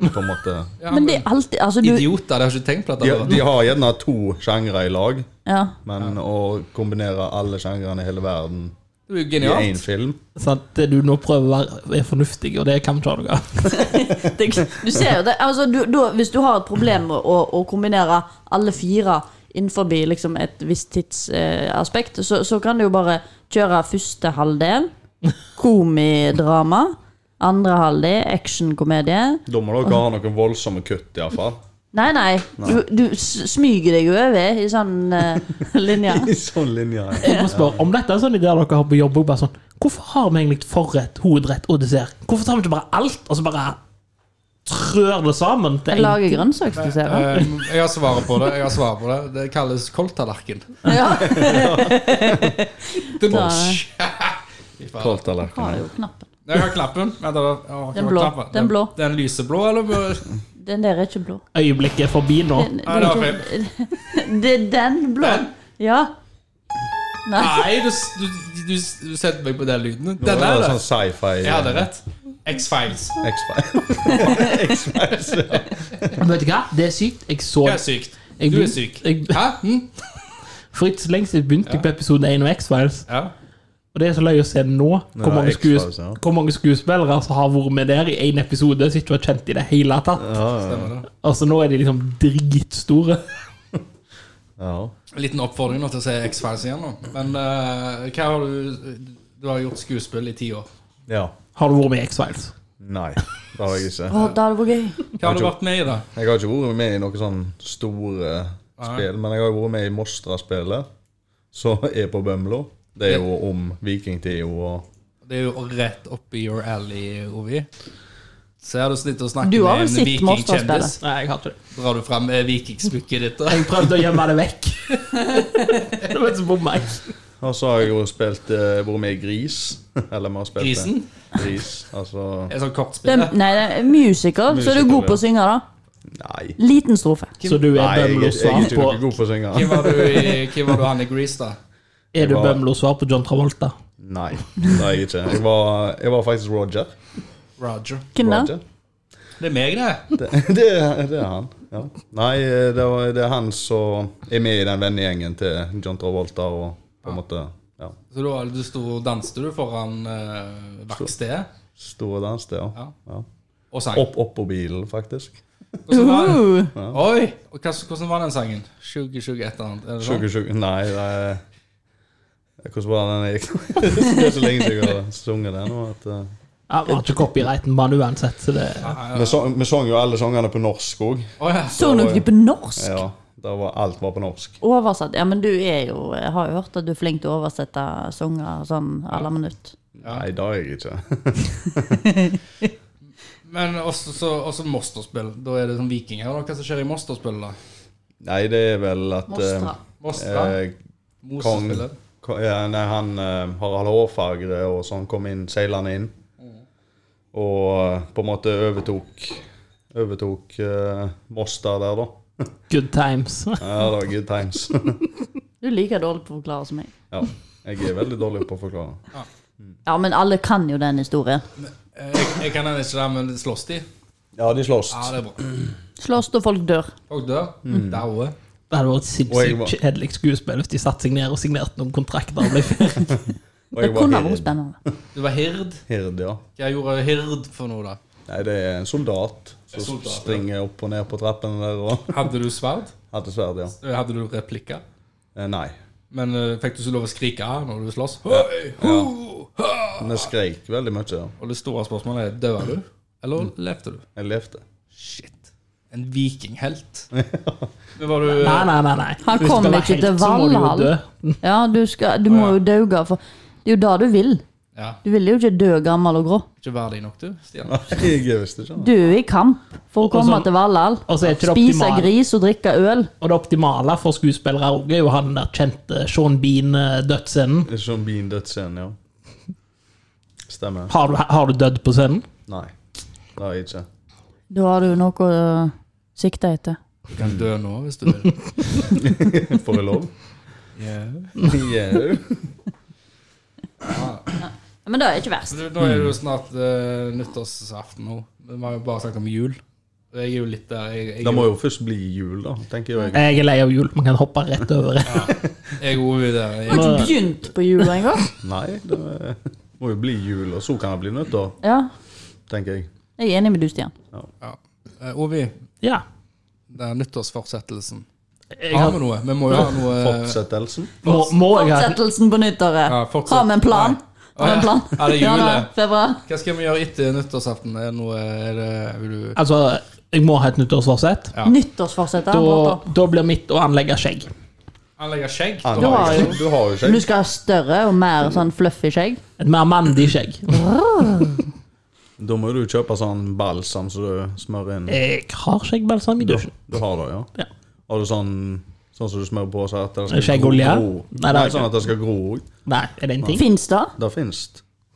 S3: på en måte.
S1: Ja,
S4: Men det er alltid Altså, du
S1: Idioter, det har jeg ikke tenkt på.
S3: De,
S1: Dette.
S3: de har gjerne to sjangre i lag,
S4: Ja.
S3: men å kombinere alle sjangrene i hele verden
S1: Det er jo
S3: i én
S1: genialt.
S3: film
S2: Sånn at det du nå prøver å være er fornuftig, og det kan vi ikke ha noe av.
S4: Det, du ser jo det. Altså, du, da, hvis du har et problem med å, å kombinere alle fire innenfor liksom, et visst tidsaspekt, eh, aspekt, så, så kan du jo bare kjøre første halvdel, komidrama, andre halvdel, actionkomedie.
S3: Da må dere ha noen voldsomme kutt, iallfall.
S4: Nei, nei. Du, du s- smyger deg jo over i sånn eh, linje.
S3: I sånn linje. ja.
S2: Jeg må spørre om dette er sånn ideer dere har på jobb. og Bare sånn, hvorfor har vi egentlig forrett, hovedrett og dessert? Hvorfor tar vi ikke bare alt, og så bare trør det sammen? til en-
S4: Lage grønnsaksdessert.
S1: Um, jeg har svaret på det. jeg har svaret på Det Det kalles koldtallerken.
S4: Ja.
S1: Det må-
S4: Nei.
S1: Fy faen.
S4: Har
S3: Korttallerkener.
S4: jo knappen.
S1: Jeg har knappen. Vent, da. Jeg har ikke
S4: Den blå.
S1: knappen.
S4: Den blå.
S1: Den lyseblå, eller? Nei,
S4: Den der er ikke blå.
S2: Øyeblikket er forbi nå.
S4: Den,
S1: det var feil.
S4: det er den blå.
S1: Den?
S4: Ja.
S1: Nei, du, s- du, du, s- du setter meg på den lyden.
S3: Det
S1: Den er
S3: var
S1: det.
S3: sånn sci-fi.
S1: Jeg hadde rett. X-Files.
S3: eh, X-Files.
S2: Men vet du hva? Det er sykt. Jeg så
S1: Jeg er sykt. Du er syk.
S2: Jeg,
S1: Hæ? Hm?
S2: for ikke så lenge siden begynte jeg på episode 1 av X-Files.
S1: Ja.
S2: Og det er så løye å se nå,
S3: Ja,
S2: hvor mange, skues
S3: X-Files, ja.
S2: hvor mange skuespillere som har vært med der i én episode som ikke var kjent i det hele tatt.
S3: Ja, ja.
S1: Stemmer det.
S2: Altså, nå er de liksom dritstore.
S3: ja.
S1: En liten oppfordring nå til å se X-Files igjen. nå Men eh, hva har du Du har gjort skuespill i ti år.
S3: ja.
S2: Har du vært med i X-Files?
S3: Nei, det har jeg ikke.
S4: Å, det hadde vært gøy.
S1: Hva har du vært med i, da?
S3: Jeg har ikke vært med i noen sånn store spill, men jeg har jo vært med i Mostra-spillet, som er på Bømlo. Det er jo om vikingtida og
S1: Det er jo rett oppi your alley, Ovi. Ser du snitt å snakke
S4: Du har vel
S1: med en
S4: sett
S1: vikingkjendis.
S4: Monsterspillet?
S2: Nei, jeg har ikke det.
S1: Drar du fram eh, vikingsmykket ditt? da?
S2: Jeg prøvde å gjemme det vekk. det var så bomma jeg.
S3: Og så har jeg jo spilt eh, vært med i Gris. Eller vi har spilt det.
S1: Grisen?
S3: Gris. Altså
S1: Er sånn
S4: Det
S1: kortspill?
S4: er, nei, det er musical, så er du
S3: Musical,
S4: god på
S3: ja.
S4: å synge, da.
S3: Nei.
S4: Liten strofe.
S2: Så du er
S3: Nei, jeg, jeg,
S2: Bømlos
S3: er
S2: svar
S3: ikke
S2: på
S3: noe god på å synge.
S1: Hvem var du i- hvem var du han i Grease, da?
S2: Er du Bømlos svar på John Travolta?
S3: Nei, det er jeg ikke. Jeg var, jeg var faktisk Roger.
S1: Roger.
S4: Hvem da?
S3: Roger.
S1: Det er meg, det.
S3: Det, det, er- det er han. Ja. Nei, eh, det, var, det er han som er med i den vennegjengen til John Travolta og på en måte ja,
S1: Så da du sto, danste du foran uh, verkstedet
S3: Stor dans, det, ja.
S1: Ja.
S3: ja.
S1: og sang.
S3: Opp, opp på bilen, faktisk.
S1: Hvordan var den?
S4: Uh,
S1: Oi! Og hva, hvordan var den sangen? 2020 et eller annet? Er det sånn?
S3: Sjuke, sjuke Nei, det er Hvordan var den jeg gikk Det er så lenge siden jeg har sunget den. og At, eh,
S2: Ja, Vi har ikke copyrighten på han uansett, så det
S3: Vi sang, vi sang jo alle sangene på norsk òg.
S1: Å ja.
S4: Sang dere det på norsk?
S3: Ja, det var, alt var på norsk.
S4: Oversatt? Ja, men du er jo Jeg har jo hørt at du er flink til å oversette sanger sånn alle minutt.
S3: Nei, det er jeg ikke.
S1: Men også, så, også Mosterspill. Da er det sånn vikinger. og Hva som skjer i Mosterspill, da?
S3: Nei, det er vel at eh,
S4: Mostra.
S1: Mostra?
S3: eh, Kong
S1: Mosespillet?
S3: ko- ja, Nei, han eh, Harald Hårfagre og sånn kom inn, seilende inn.
S1: Mm.
S3: Og eh, på en måte overtok Overtok eh, Moster der, da.
S2: Good times.
S3: Ja, det var good times.
S4: Du er like dårlig på å forklare som meg.
S3: ja, jeg er veldig dårlig på å forklare.
S4: Ja, men alle kan jo den historien.
S1: Eh, Jeg, jeg kan den ikke der, men slåss de?
S3: Ja, de slåss.
S1: Ja, det er bra.
S4: Slåss da folk dør.
S1: Folk dør. Daue.
S2: Det hadde vært
S3: Og jeg var-
S2: sinnssykt kjedelig skuespill hvis de satte seg ned og signerte noen kontrakter. og ble ferdig.
S3: Og
S4: Det
S3: jeg var
S4: kunne vært
S3: hird.
S4: spennende.
S1: Du var hird.
S3: hird, ja.
S1: Hva gjorde hird for noe, da?
S3: Nei, det er en soldat
S1: En
S3: som
S1: soldat, ja.
S3: springer opp og ned på trappene der og
S1: Hadde du sverd?
S3: hadde sverd, ja.
S1: Eh, Hadde du replikker?
S3: Eh, Nei.
S1: Men eh, fikk du så lov å skrike når du slåss? Hei, ho, ha!
S3: Men jeg skreik veldig mye. Ja.
S1: Og det store spørsmålet er døde du, eller
S3: Mm.
S1: levde du?
S3: Jeg levde.
S1: Shit. En vikinghelt. Men var du
S2: Nei, nei, nei. nei.
S4: Han
S2: Hvis du
S4: kom
S2: skal være
S4: ikke til
S2: helt, så må du jo
S4: Valhall.
S2: dø.
S4: Ja, du, skal, du må jo dauge, for det er jo det du vil.
S1: Ja,
S4: Du vil jo ikke dø gammel og grå.
S1: ikke verdig nok, du, Stian?
S3: Nei, jeg visste ikke det.
S4: Du er i kamp for å
S2: Og så-
S4: komme til Valhall.
S2: og så er ikke det
S4: Spise
S2: optimale.
S4: gris og drikke øl.
S2: Og det optimale for skuespillere også er jo han der kjente Sean eh, Bean-dødsscenen.
S3: Det er Som Bean dødsscenen, ja. Stemmer.
S2: Har, du- har du dødd på scenen?
S3: Nei, det har jeg ikke.
S4: Da har du noe å sikte etter.
S1: Du kan dø nå hvis du vil.
S3: Får jeg lov? Yeah.
S4: Men det er ikke verst.
S1: Så du, nå er
S3: Mm.
S1: det jo snart eh, nyttårsaften nå. Vi har jo bare snakket om jul. Og Jeg er jo litt der. Jeg, jeg,
S3: Det må jo først bli jul, da, tenker jo jeg.
S2: Jeg er lei av jul, man kan hoppe rett over det.
S1: jeg er jo der.
S4: Du
S1: Jeg,
S4: har ikke begynt på jula engang.
S3: Nei, det må jo bli jul, og så kan det bli nytt, da,
S4: Ja,
S3: tenker jeg.
S4: jeg er enig med du, Stian.
S1: ja. Eh, Ovi,
S2: Ja.
S1: det er nyttårsfortsettelsen.
S2: Jeg
S1: Har
S2: har,
S1: vi noe? Vi må jo ha noe
S3: Fortsettelsen.
S2: må, må jeg ha
S4: Fortsettelsen på nyttåret.
S1: Ja, fortsett.
S4: Har vi en plan?
S1: Nei.
S4: Har vi en plan?
S1: Ja, det er jule.
S4: Januar, Februar?
S1: Hva skal vi gjøre etter nyttårsaften? Er det noe er det, vil du
S2: Altså, jeg må ha et nyttårsforsett.
S1: Ja.
S4: Nyttårsforsett. er
S2: Da,
S4: bra,
S2: da blir mitt å anlegge skjegg.
S1: Anlegge skjegg?
S3: Ah,
S1: Da har jeg-
S3: ikke- du har jo
S4: da. Du
S3: ikke.
S4: skal ha større og mer sånn fluffy skjegg.
S2: Et mer mandig skjegg.
S3: Da må du kjøpe sånn balsam som du smører inn.
S2: Jeg har skjeggbalsam i
S3: Du,
S2: dusjen.
S3: du har det, ja?
S2: Eh, Ja.
S3: Har du sånn Sånn som du smører på så at det skal gro?
S2: Skjeggolje?
S3: gro?
S2: Nei, det
S3: Nei,
S2: har jeg
S3: sånn
S2: ikke.
S3: at det skal gro òg.
S2: Nei, er det en ting?
S4: Fins det?
S3: Det fins.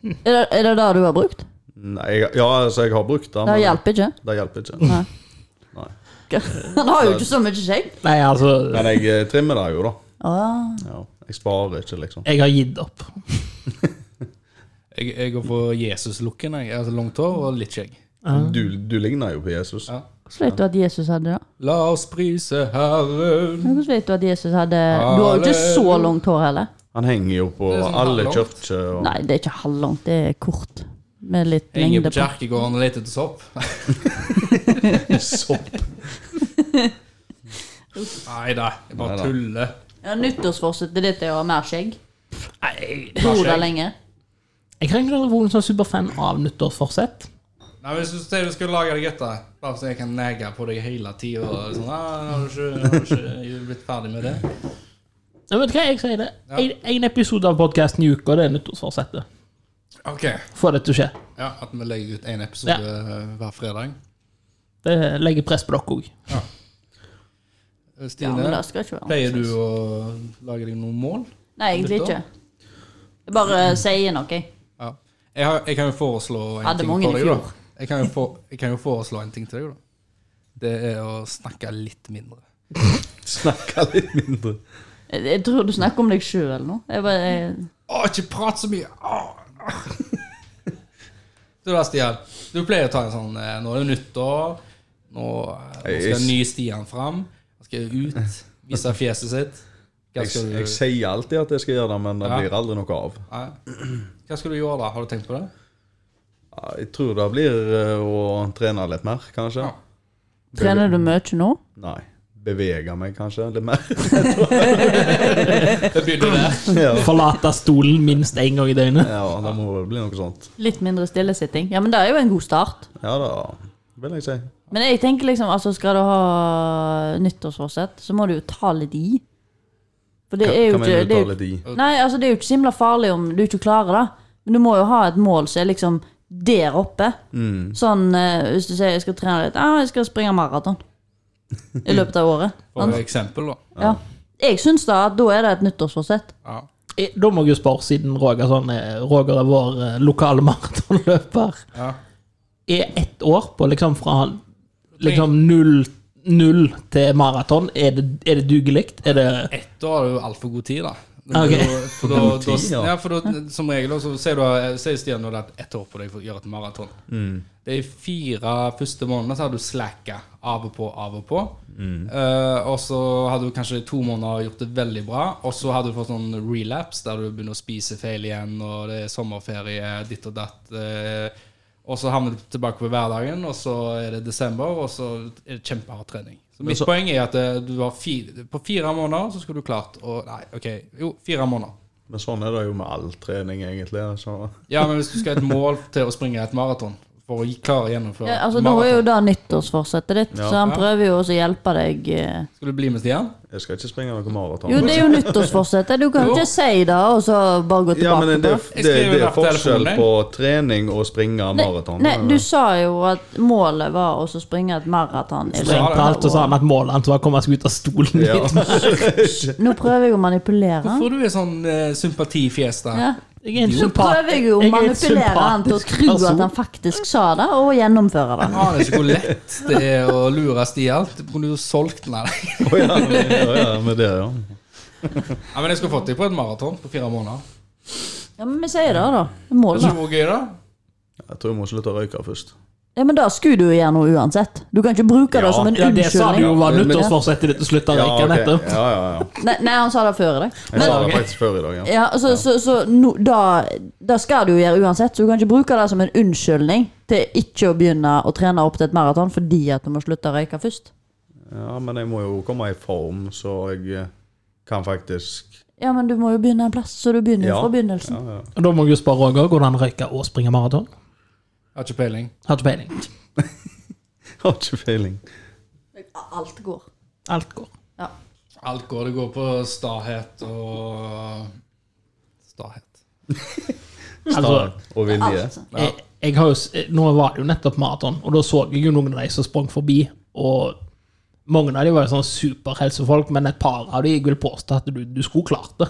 S4: Er det er det det du har brukt?
S3: Nei, jeg- ja, altså, jeg har brukt det,
S4: Det
S3: men
S4: hjelper ikke.
S3: det hjelper ikke.
S4: Nei.
S3: Nei.
S4: Han har jo ikke så mye skjegg.
S2: Nei, altså,
S3: Men jeg eh, trimmer det jo, da.
S4: Ah.
S3: Ja, jeg sparer ikke, liksom.
S2: jeg har gitt opp.
S1: Jeg, jeg går for Jesus-looken. jeg. Altså Langt hår og litt skjegg.
S3: Du, du ligner jo på Jesus.
S1: Ja.
S4: Hvordan vet du at Jesus hadde det?
S1: La oss prise Herren.
S4: Hvordan vet du at Jesus hadde Du har jo ikke så langt hår heller.
S3: Han henger jo på
S1: Det er sånn
S3: alle
S1: halvlangt.
S3: kirker. og-
S4: Nei, det er ikke halvlangt, det er kort. Med litt
S1: Henger på
S4: lengde på.
S1: kjerkegården og leter etter sopp.
S3: Sopp.
S1: Nei da, jeg bare
S3: Neida.
S1: tuller.
S4: Ja, Nyttårsforsettet ditt er å ha mer skjegg.
S2: Nei.
S4: Tror det
S1: skjegg.
S4: lenge.
S2: Jeg har egentlig aldri vært en sånn superfan av nyttårsforsett.
S1: Nei, men Hvis du sier du skal lage deg etter, bare så jeg kan nege på deg hele tida sånn, «Ah, 'Har du ikke, har du ikke blitt ferdig med det?'
S2: Nei, vet du hva, jeg sier det.
S1: Ja.
S2: En, en episode av podkasten i uka, det er nyttårsforsettet.
S1: OK.
S2: Få det til å skje.
S1: Ja, At vi legger ut én episode eh, hver fredag.
S2: Det legger press på dere òg.
S4: Ja,
S1: Stine,
S4: men det skal ikke være
S1: pleier du
S4: annerledes.
S1: å lage deg noen mål?
S4: Nei, egentlig ikke. Jeg bare sier noe, jeg.
S1: Ja. Jeg, har, jeg kan jo foreslå en
S4: Hadde
S1: ting
S4: mange i
S1: for deg,
S4: fjor.
S1: da. Jeg kan, jo for, jeg kan jo foreslå en ting til deg, da. Det er å snakke litt mindre.
S3: Snakker litt mindre.
S4: Jeg, jeg tror du snakker om deg sjøl nå. Jeg bare, jeg,
S1: Å, ikke prat så mye! Åh, åh. Du da, Stian. Du pleier å ta en sånn eh, Nå er det nyttår. Nå, eh, nå skal den nye Stian fram. Han skal ut. Vise fjeset sitt. Hva
S3: Jeg,
S1: skal du,
S3: jeg sier alltid at jeg skal gjøre det, men det
S1: Ja.
S3: blir aldri noe av.
S1: Nei. Hva skal du gjøre da? Har du tenkt på det?
S3: Ja, Jeg tror det blir eh, å trene litt mer, kanskje.
S1: Ja.
S4: trener du mye nå?
S3: Nei. Bevege meg kanskje litt mer.
S1: Det begynner der.
S3: ja.
S2: Forlate stolen minst én gang i døgnet.
S3: ja, det må vel bli noe sånt.
S4: Litt mindre stillesitting? Ja, men det er jo en god start.
S3: Ja, det vil jeg si.
S4: Men jeg tenker liksom, altså skal du ha nyttårsforsett, så må du jo ta litt i. For det
S3: Hva
S4: er jo
S3: hva
S4: ikke,
S3: mener du
S4: det er
S3: ta
S4: jo
S3: litt i?
S4: Nei, altså det er jo ikke så himla farlig om du ikke klarer det. Men du må jo ha et mål som er liksom der oppe.
S3: Mm.
S4: Sånn eh, hvis du sier jeg skal trene litt Ja, jeg skal springe maraton. I løpet av året. Sånn,
S1: For eksempel, da.
S4: Ja. Jeg syns da at da er det et nyttårsforsett.
S1: Ja.
S2: Eh, Da må jeg jo spørre, siden Roger, sånn, er- Roger er vår eh, lokale maratonløper,
S1: Ja.
S2: er ett år på liksom fra liksom null, null til maraton, er det, er det dugelig? Er det
S1: Ett år er jo altfor god tid, da.
S2: Ok.
S1: Da- For da, da,
S3: Tid, ja.
S1: ja, for da, som regel så sier, du, sier Stian nå at ett år på deg for å gjøre et maraton. De fire første månedene så har du slacka av og på, av og på. Eh, og så har du kanskje to måneder gjort det veldig bra, og så har du fått sånn relapse der du begynner å spise feil igjen, og det er sommerferie, ditt og datt. eh, og så havner du tilbake på hverdagen, og så er det desember, og så er det kjempehard trening. Så mitt poeng er at eh, du har fi- på fire måneder så skulle du klart å Nei, OK. Jo, fire måneder.
S3: Men sånn er det jo med all trening, egentlig. Altså, Så.
S1: Ja, men hvis du skal ha et mål til å springe et maraton for å gi- klare å gjennomføre
S4: Ja, altså Nå er jo
S1: maraton,
S4: det nyttårsforsettet ditt,
S3: Ja.
S4: så han
S1: Ja.
S4: prøver jo også å hjelpe deg. eh.
S1: skal du bli med Stian?
S3: Jeg skal ikke springe noe maraton.
S4: Jo, det er jo nyttårsforsettet. Du kan
S1: Jo.
S4: ikke si det og så bare gå
S3: ja,
S4: tilbake
S3: men det, det,
S4: på det.
S1: Jeg
S3: det,
S1: skriver
S3: det er
S1: det på
S3: forskjell
S1: telefonen, jeg.
S3: på trening og springe
S4: Nei,
S3: maraton.
S4: nei, du sa jo at målet var å så springe et maraton. i løpet
S2: Strengt
S4: av
S2: talt så sa han at målet hans var å komme seg ut av stolen.
S3: Ja.
S2: litt.
S4: året. Nå prøver jeg å manipulere.
S1: Hvorfor du er sånn eh, sympatifjes da?
S4: Ja.
S2: Jeg er en
S4: Så
S2: sympat-
S4: prøver jeg jo å
S2: jeg er en
S4: manipulere han til å
S2: sympatisk altså.
S4: tro at
S2: person.
S4: han faktisk sa det, og gjennomføre det.
S1: Jeg aner ikke hvor lett det er å lure Stian. Du kunne jo solgt den av deg.
S3: Å ja, men- å ja, med det, ja.
S1: Ja, men jeg skulle fått deg på et maraton på fire måneder.
S4: Ja, Men vi sier det, da. Mål,
S1: Det er
S4: da.
S1: ikke hvor gøy, da.
S3: Jeg tror jeg må slutte å røyke først.
S4: Ja, Men da skulle du jo gjøre noe uansett. Du kan ikke bruke det
S3: Ja,
S4: som en
S2: Ja, det sa du jo
S4: unnskyldning.
S2: var
S3: Ja, men-
S2: nyttårsforsettet ditt å slutte å
S3: Ja,
S2: røyke
S3: ok.
S2: nettopp.
S3: ja, ja, ja.
S4: Nei, nei, han sa det før i dag.
S3: Jeg sa
S2: ok.
S3: det faktisk før i dag, ja.
S4: Ja, så, så, så, nå- da, da skal du jo gjøre uansett, så du kan ikke bruke det som en unnskyldning til ikke å begynne å trene opp til et maraton fordi at du må slutte å røyke først.
S3: Ja, men jeg må jo komme i form, så jeg eh, kan faktisk
S4: Ja, men du må jo begynne en plass, så du begynner jo
S3: Ja.
S4: fra begynnelsen.
S3: Ja, ja.
S2: Og Da må jeg jo spørre Roger, går det an å røyke og springe maraton?
S1: Jeg har ikke peiling.
S2: Har ikke peiling.
S3: Har ikke peiling.
S4: Alt går.
S2: Alt går.
S4: Ja.
S1: Alt går. Det går på stahet og Stahet.
S2: Altså,
S3: Og vilje.
S4: Alt.
S2: jeg, jeg har jo, s- eh, nå var det jo nettopp maraton, og da så jeg jo noen av de som sprang forbi. Og mange av de var jo sånn superhelsefolk, men et par av de jeg vil påstå at du, du skulle klart det.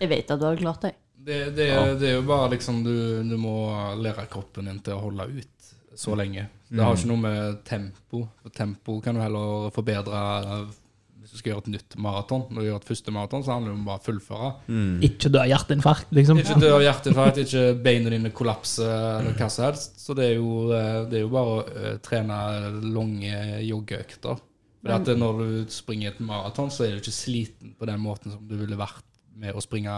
S4: Jeg vet at du hadde klart det.
S1: Det, det, det er jo bare liksom du, du må lære kroppen din til å holde ut så lenge. Det har ikke noe med tempo For tempo kan du heller forbedre eh, hvis du skal gjøre et nytt maraton. Når du gjør et første maraton, så handler det om bare å fullføre.
S4: Mm.
S2: Ikke dø av hjerteinfarkt, liksom.
S1: Ikke dø av hjerteinfarkt, ikke beina dine kollapser eller hva som helst. Så det er jo, eh, det er jo bare å eh, trene lange joggeøkter. For at når du springer et maraton, så er du ikke sliten på den måten som du ville vært med å springe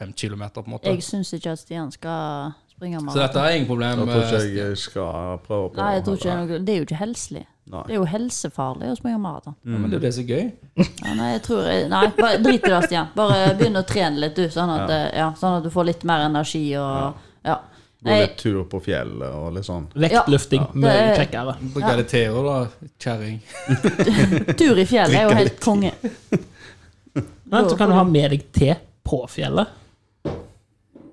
S1: fem kilometer, på en måte.
S4: Jeg syns ikke at Stian skal springe
S1: Så
S4: maraton.
S1: dette er ingen problem.
S3: Da tror ikke jeg eh, jeg skal prøve på
S4: Nei, jeg tror ikke det er noe Det er jo ikke helselig.
S3: Nei.
S4: Det er jo helsefarlig å springe maraton.
S1: Ja, men det er jo det som er gøy.
S4: Ja, nei, jeg tror jeg, nei, bare drit i det, Stian. Bare begynn å trene litt, du. Sånn at, eh, ja, sånn at du får litt mer energi og Ja.
S3: Gå
S4: Nei,
S3: litt tur på fjellet og litt sånn.
S2: Vektløfting. Mye
S4: Det er-
S2: kjekkere.
S1: Bruker det til å da, kjerring.
S4: tur i fjellet er jo helt konge.
S2: Men så kan du ha med deg te på fjellet.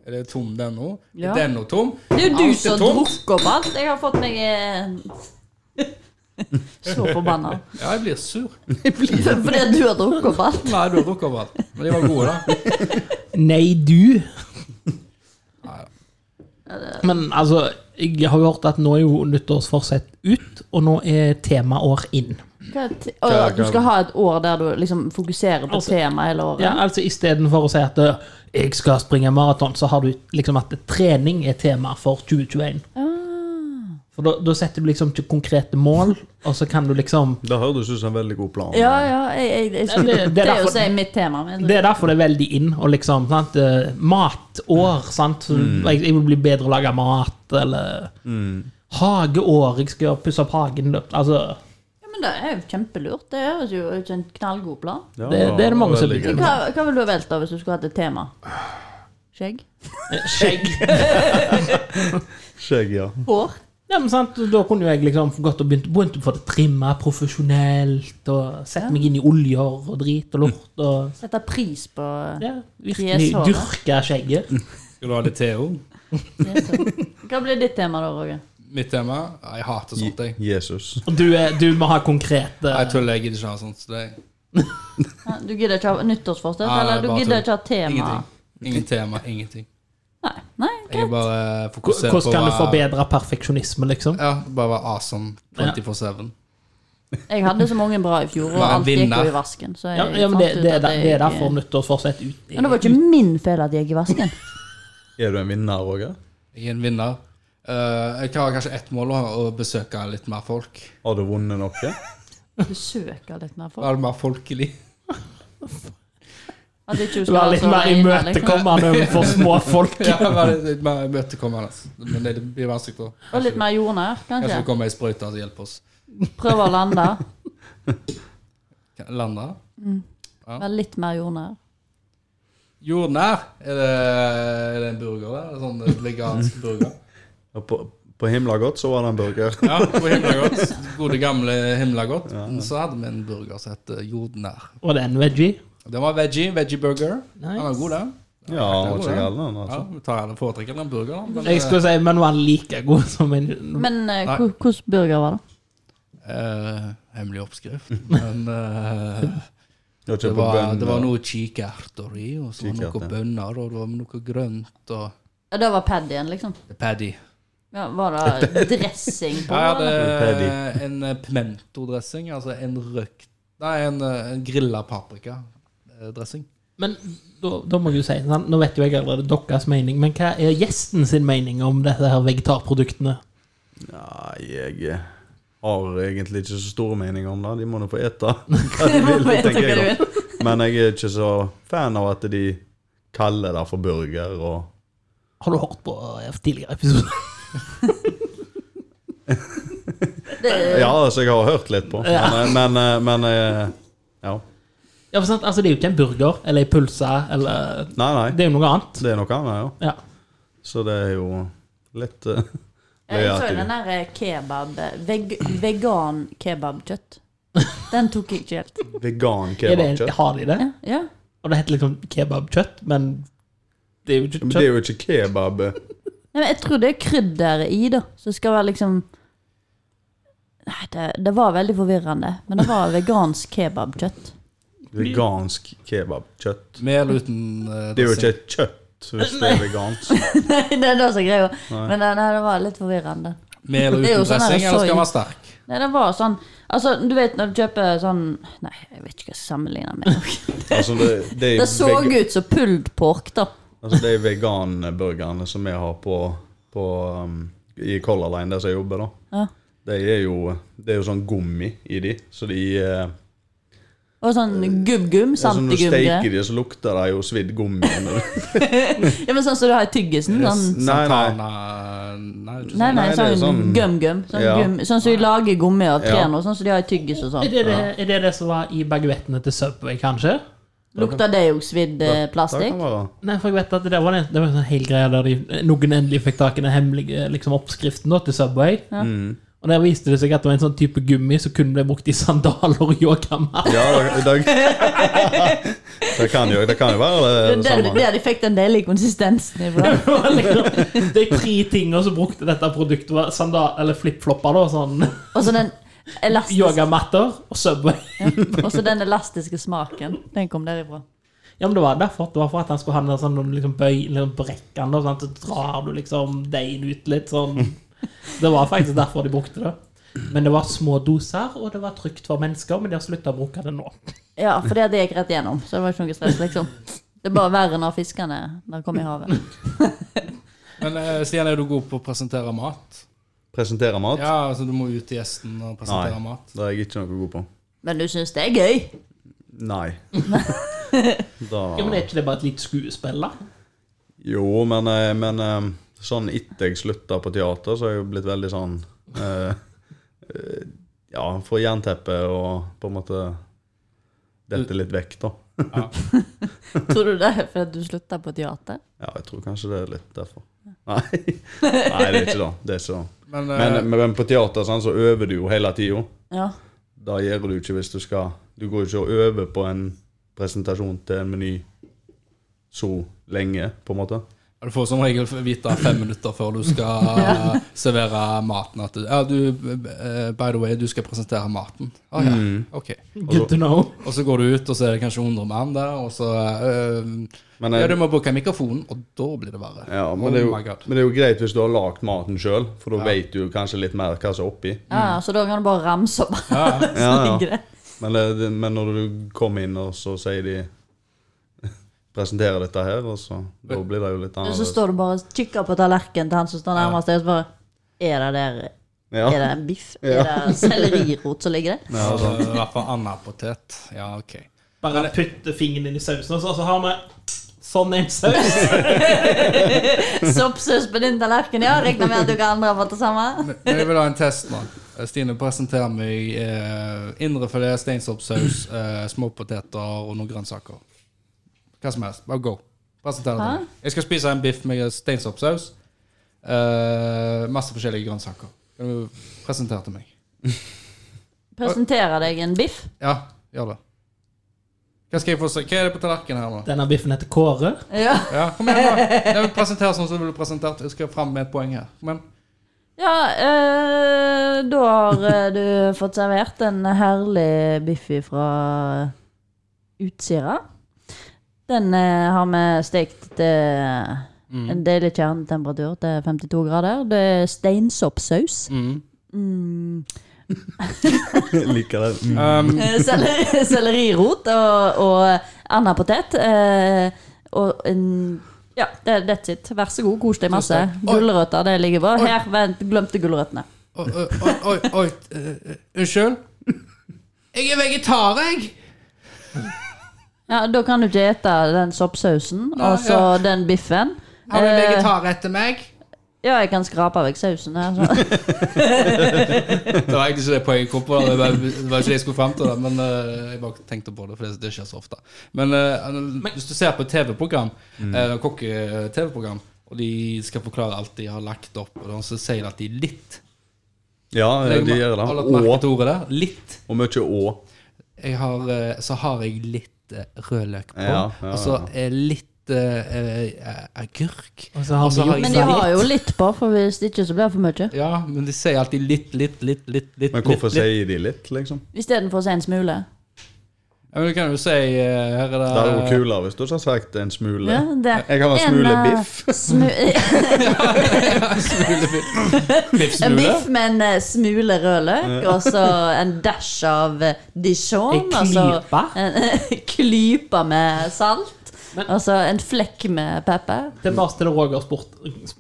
S1: Er det tom den nå?
S4: Ja.
S1: Er den nå tom?
S4: Det er jo du
S1: Alt er
S4: som
S1: tomt.
S4: drukker opp alt. Jeg har fått meg eh, Så forbanna.
S1: Ja, jeg blir sur.
S4: Fordi at du har drukket opp alt.
S1: Nei, du har drukket opp alt. Men de var gode, da.
S2: Nei, du.
S1: Nei,
S2: Men altså, jeg har hørt at nå er jo nyttårsforsett ut, og nå er temaår inn.
S4: Hva er te- Og at du skal ha et år der du liksom fokuserer på
S2: Altså-
S4: tema hele
S2: Ja,
S4: året.
S2: altså Istedenfor å si at eh, 'jeg skal springe maraton', så har du liksom at trening er tema for 2021. For da, da setter du liksom ikke konkrete mål, og så kan du liksom
S3: Det høres ut som en veldig god plan.
S4: Ja, ja. Jeg, jeg, jeg skulle,
S2: Det- det er
S4: det er jo
S2: derfor-
S4: å si mitt tema. Men jeg
S2: Det er derfor det er veldig inn. Og liksom, sant? eh, Matår, sant. Så Jeg, jeg vil bli bedre å lage mat, eller Hageår. Jeg skal gjøre- pusse opp hagen. da. Altså,
S4: Ja, men det er jo kjempelurt. Det høres jo ut som en knallgod plan.
S3: Ja,
S2: Det- det er det mange som
S3: veldig
S2: liker.
S3: gøy.
S4: Hva, hva ville du ha valgt da hvis du skulle hatt et tema? Skjegg?
S2: eh, skjegg.
S3: Skjegg, ja.
S4: Hår?
S2: Ja, men sant? Da kunne jo jeg liksom gått og begynt, begynt å få det trimma profesjonelt, og sett meg inn i oljer og drit og lort. og
S4: Sette pris på
S2: ja, Virkelig
S4: Fjesåret.
S2: dyrke skjegget.
S1: Skal du ha litt te òg?
S4: Hva blir ditt tema da, Roger?
S1: Mitt tema? Nei, Jeg hater sånt, jeg.
S3: Jesus.
S2: Og Du, er, du må ha konkrete
S1: Jeg tuller, jeg gidder ikke ha sånt. Så det er
S4: Hæ, Du gidder ikke ha nyttårsforsett?
S1: Nei,
S4: Eller du
S1: bare
S4: gidder
S1: tull.
S4: ikke ha tema?
S1: ingenting. Ingen tema, ingenting.
S4: Nei. Nei.
S1: Jeg er bare fokusert på
S2: Hvordan kan
S1: å
S2: du
S1: være-
S2: forbedre perfeksjonisme, liksom?
S1: Ja, bare være awesome 24-7.
S4: Jeg hadde så mange bra i fjor, og
S1: Bare
S4: alt gikk
S1: vinner.
S4: jo i vasken. Så jeg
S2: Ja, ja men det,
S4: fant ut
S2: det, er,
S4: at
S2: der- det er
S4: jeg-
S2: derfor nyttårsforsett ut.
S4: Men det var ikke min feil at jeg gikk i vasken.
S3: Er du en vinner, Roger?
S1: Jeg er en vinner. Eh, jeg har kanskje ett mål, da, å besøke litt mer folk.
S3: Har du vunnet noe?
S4: Du søker litt mer folk.
S1: Være mer folkelig.
S4: At ikke du
S2: Du
S4: skal
S2: var
S4: være
S2: litt
S4: så
S2: mer
S4: alene, liksom.
S2: imøtekommende overfor små folk.
S1: Ja, være litt mer imøtekommende. altså. Men det blir vanskelig, da.
S4: Og litt mer jordnær,
S1: Kanskje det
S4: kanskje.
S1: kommer ei sprøyte som hjelper oss.
S4: Prøve å lande.
S1: Kan- Landa?
S4: Være litt mer jordnær.
S1: Jordnær? Er det, er det en burger? da? En sånn vegansk burger?
S3: Ja, På, på himla godt så var det en burger.
S1: Ja, på Himlagodt. Gode, gamle Himlagodt. Så hadde vi en burger som het eh, Jordnær.
S2: Og det er en veggie.
S1: Den var veggie. Veggie burger. Den var
S2: Nice.
S1: god, den.
S3: Ja, han var ikke gæren, han,
S1: Ja,
S3: altså.
S1: vi tar gjerne foretrekker den burgeren. Men,
S2: Jeg skulle si, men var den like god som en
S4: Men eh,
S1: Nei.
S4: hvor- hvordan burger var det?
S1: eh, hemmelig oppskrift. Men eh,
S3: Jeg
S1: det,
S3: har kjøpt på
S1: var,
S3: bønn,
S1: det var
S3: da.
S1: noe kikerter i, og så var det
S3: Kikerter.
S1: noe bønner, og det var noe grønt, og
S4: Ja, Det var paddyen, liksom.
S1: paddy.
S4: Ja, var det dressing på?
S1: Jeg hadde
S4: eller?
S1: eh, en eh, pimentodressing, altså en røkt Nei, en, eh, en eh, grilla paprikadressing.
S2: Men da, da må jeg jo si, sant? nå vet jo jeg allerede deres mening, men hva er gjesten sin mening om disse her vegetarproduktene?
S3: Nei,
S4: eh,
S3: jeg har egentlig ikke så stor mening om det. De må nå få ete hva de
S4: Du må
S3: vil,
S4: vite
S3: tenker
S4: hva du
S3: jeg.
S4: vil.
S3: da. Men jeg er ikke så fan av at de kaller det for burger og
S2: Har du hørt på eh, tidligere episoder?
S4: Det-
S3: Ja, altså, jeg har hørt litt på, men, men, eh, men eh, Ja.
S2: Ja, for sant? Altså, det er jo ikke en burger eller en pølse eller
S3: Nei, nei.
S2: Det er jo noe annet.
S3: Det er noe annet, ja.
S2: Ja.
S3: Så det er jo litt eh, løye
S4: Jeg så
S3: at
S4: jo
S3: de-
S4: den der eh, kebab veg, Vegan kebabkjøtt. Den tok jeg ikke helt.
S3: Vegan
S2: Er det, en-
S3: kebabkjøtt.
S2: har de det?
S4: Ja, ja.
S2: Og det heter liksom kebabkjøtt, men det er jo ikke
S3: Men det
S2: kjøtt.
S3: er jo ikke kebab. eh,
S4: Nei, men jeg tror det er krydderet i, da. Så det skal være liksom Nei, det, det var veldig forvirrende. Men det var vegansk kebabkjøtt.
S3: Vegansk kebabkjøtt.
S1: Med eller uten eh,
S3: Det er jo
S1: dressing.
S3: ikke et kjøtt hvis det er vegansk.
S4: Nei, det er det som er greia. Men det, nei, det var litt forvirrende.
S1: Med eller
S4: Det er
S1: uten
S4: jo sånn her
S1: dressing, eller
S4: soy.
S1: skal den være sterk?
S4: Nei, det var sånn Altså, du vet når du kjøper sånn Nei, jeg vet ikke hva jeg skal sammenligne med.
S3: Altså, det, det, er
S4: Det så
S3: vega-
S4: ut som pulled pork, da.
S3: Altså de veganburgerne som vi har på, på um, i Color Line, der som jeg jobber, da.
S4: Ja.
S3: De er jo, det er jo sånn gummi i de, så de eh,
S4: Og sånn
S3: Det
S4: gubb-gum,
S3: er sånn, når du
S4: santigum-greier.
S3: steker de, så lukter det jo svidd gummi. Nei,
S4: Ja, men sånn som du har i tyggisen. Sånn.
S3: nei.
S1: Santana Nei, ikke
S4: Nei, nei,
S3: Nei, det er
S4: sånn
S3: sånn-
S4: gum-gum. Sånn,
S3: Ja.
S4: gum, sånn som de lager gummi av
S3: Ja.
S4: trærne, og sånn som de har i tyggis og
S2: Er
S4: sånn.
S2: det det, er det det som var i baguettene til Subway, kanskje?
S4: Lukter det jo svidd eh,
S3: Det kan
S4: plastikk?
S3: være.
S2: Nei, for jeg vet at det var en, det var en sånn hel greie der de, noen endelig fikk tak i den hemmelige liksom, oppskriften da, til Subway. Og der viste det seg at det var en sånn type gummi som kun ble brukt i sandaler og yogamat.
S3: Ja, det, det, det, kan jo, det kan jo være det,
S4: Det
S3: det
S4: er der,
S3: samme.
S4: der de fikk den deilige konsistensen ifra.
S2: Det var liksom De tre tingene som brukte dette produktet, var sandal, eller flipflopper, da, sånn
S4: Og så den elastiske,
S2: yogamatter og Subway.
S4: og så den elastiske smaken. Den kom derifra.
S2: Ja, men det var derfor det var for at han skulle ha den der sånn når du liksom bøy, liksom brekker han, da, sånn, så drar du liksom deigen ut litt sånn. Det var faktisk derfor de brukte det. Men det var små doser, og det var trygt for mennesker, men de har slutta å bruke det nå.
S4: Ja, for det gikk rett gjennom, så det var ikke noe stress, liksom. Det er bare verre når fiskene når de kom i havet.
S1: Men eh, Stian, er du god på å presentere mat?
S3: Presentere mat?
S1: Ja, altså du må ut til gjesten og presentere
S3: Nei.
S1: mat.
S3: Det er jeg ikke noe god på.
S4: Men du syns det er gøy?
S3: Nei. Da,
S2: Ja, men Er ikke det bare et lite skuespill, da?
S3: jo, men, eh, men eh, sånn etter jeg slutta på teater, så er jeg jo blitt veldig sånn eh, eh, Ja, får jernteppe og på en måte dette litt vekk, da.
S4: Tror du det er fordi du slutta på teater?
S3: Ja, jeg tror kanskje det er litt derfor. Nei, Nei det er ikke sånn, det. det, er ikke det.
S1: Men, eh,
S3: Men, men på teater sånn, så øver du jo hele tida.
S4: Ja.
S3: Det gjør du ikke hvis du skal Du går jo ikke og øver på en presentasjon til en meny så lenge, på en måte.
S1: Du får som regel vite fem minutter før du skal servere maten at du, ja, du, eh, By the way, du skal presentere maten. Å ja,
S3: Mm.
S1: ok.
S4: Altså-
S2: Good to know.
S1: Og så går du ut, og så er det kanskje 100 mann der, og så eh,
S3: Men,
S1: Ja,
S3: eh,
S1: du må bruke mikrofonen, og da blir det verre.
S3: ja, men,
S1: oh
S3: det er jo,
S1: my god.
S3: men det er jo greit hvis du har lagd maten sjøl, for da vet du kanskje litt mer hva som er oppi.
S4: ja, Så da kan du bare ramse opp.
S1: Ja,
S4: så
S3: Mm. Ja, ja.
S4: ligger det.
S3: Men, det- det- men når du kommer inn, og så sier de Presenterer dette her, og så Da blir det jo litt
S4: Og så
S3: annerledes.
S4: står du bare og kikker på tallerkenen til han som står nærmest deg, og så bare Er det der
S3: Ja.
S4: Er det en biff? Er det sellerirot som ligger der?
S1: ja, så, I hvert fall andapotet. Ja, ok.
S2: Bare putte fingeren inn i sausen, og så, så har vi sånn en saus.
S4: Soppsaus på din tallerken, ja. Regner med at dere andre har fått det samme?
S1: Men jeg vil ha en test nå. Eh, Stine, presenter meg eh, indrefilet, steinsoppsaus, eh, småpoteter og noen grønnsaker. Hva som helst. Bare go. Presenter det. til meg. Jeg skal spise en biff med steinsoppsaus. Eh, masse forskjellige grønnsaker. Kan du presentere til meg?
S4: Presenterer deg en biff?
S1: Ja, gjør det. Hva skal jeg få se? Hva er det på tallerkenen her nå?
S2: Denne biffen heter Kåre.
S4: Ja.
S1: Ja, kom igjen, da. Jeg vil presentere sånn som du ville presentert. Jeg skal fram med et poeng her. Kom igjen.
S4: Ja, eh, da har eh, du fått servert en herlig biff fra eh, Utsira. Den eh, har vi stekt til
S1: Mm.
S4: en deilig kjernetemperatur til 52 grader. Det er steinsoppsaus. Mm.
S3: Jeg liker det. Mm.
S1: Um,
S4: Eh, selleri- Sellerirot og, og annen potet. eh, Og en ja, det- that's it. Vær så god, kos deg masse.
S1: Tusen takk. Oi.
S4: Gulrøtter, det ligger bra. Her, vent, glemte gulrøttene.
S1: Oi, oi, oi, oi. eh, Unnskyld? Jeg er vegetar, jeg.
S4: Ja, Da kan du ikke ete den soppsausen
S1: Nei,
S4: og så den biffen.
S1: Har du en
S4: Eh,
S1: vegetarrett til meg?
S4: Ja, jeg kan skrape vekk sausen her. Så.
S1: Det var egentlig ikke det poenget jeg kom på. da. Det var, det var ikke det jeg skulle fram til, da. men eh, jeg bare tenkte på det, for det, det skjer så ofte. Men eh, hvis du ser på et TV-program, eh, kokke-TV-program, og de skal forklare alt de har lagt opp, og sånn, så sier de at de er litt.
S3: Ja, de gjør
S1: Har du
S3: det.
S1: lagt merke
S3: Å,
S1: til ordet der? Litt.
S3: og mye å.
S1: jeg har, eh, så har jeg litt eh, rødløk på,
S3: Ja, ja,
S1: og så eh, litt eh, eh, agurk.
S2: Og så har vi jo-
S4: Men de har jo litt på, for hvis ikke så blir det for mye.
S1: Ja, men de sier alltid litt, litt, litt, litt, litt.
S3: Men hvorfor
S1: litt, litt.
S3: sier de litt, liksom?
S4: Istedenfor å si en smule.
S1: Ja, men du kan jo si eh, Her er det,
S3: Det er jo kulere hvis du ikke har sagt en smule.
S4: Ja, det- eh,
S3: Jeg har en smule biff.
S4: Smu en
S1: biffsmule.
S4: biff med en eh, smule rødløk, og så en dash av eh, dijon.
S2: En
S4: og så
S2: klype.
S4: En klype med salt.
S2: Men-
S4: Og så en flekk med pepper.
S2: Tilbake til det Roger spurt,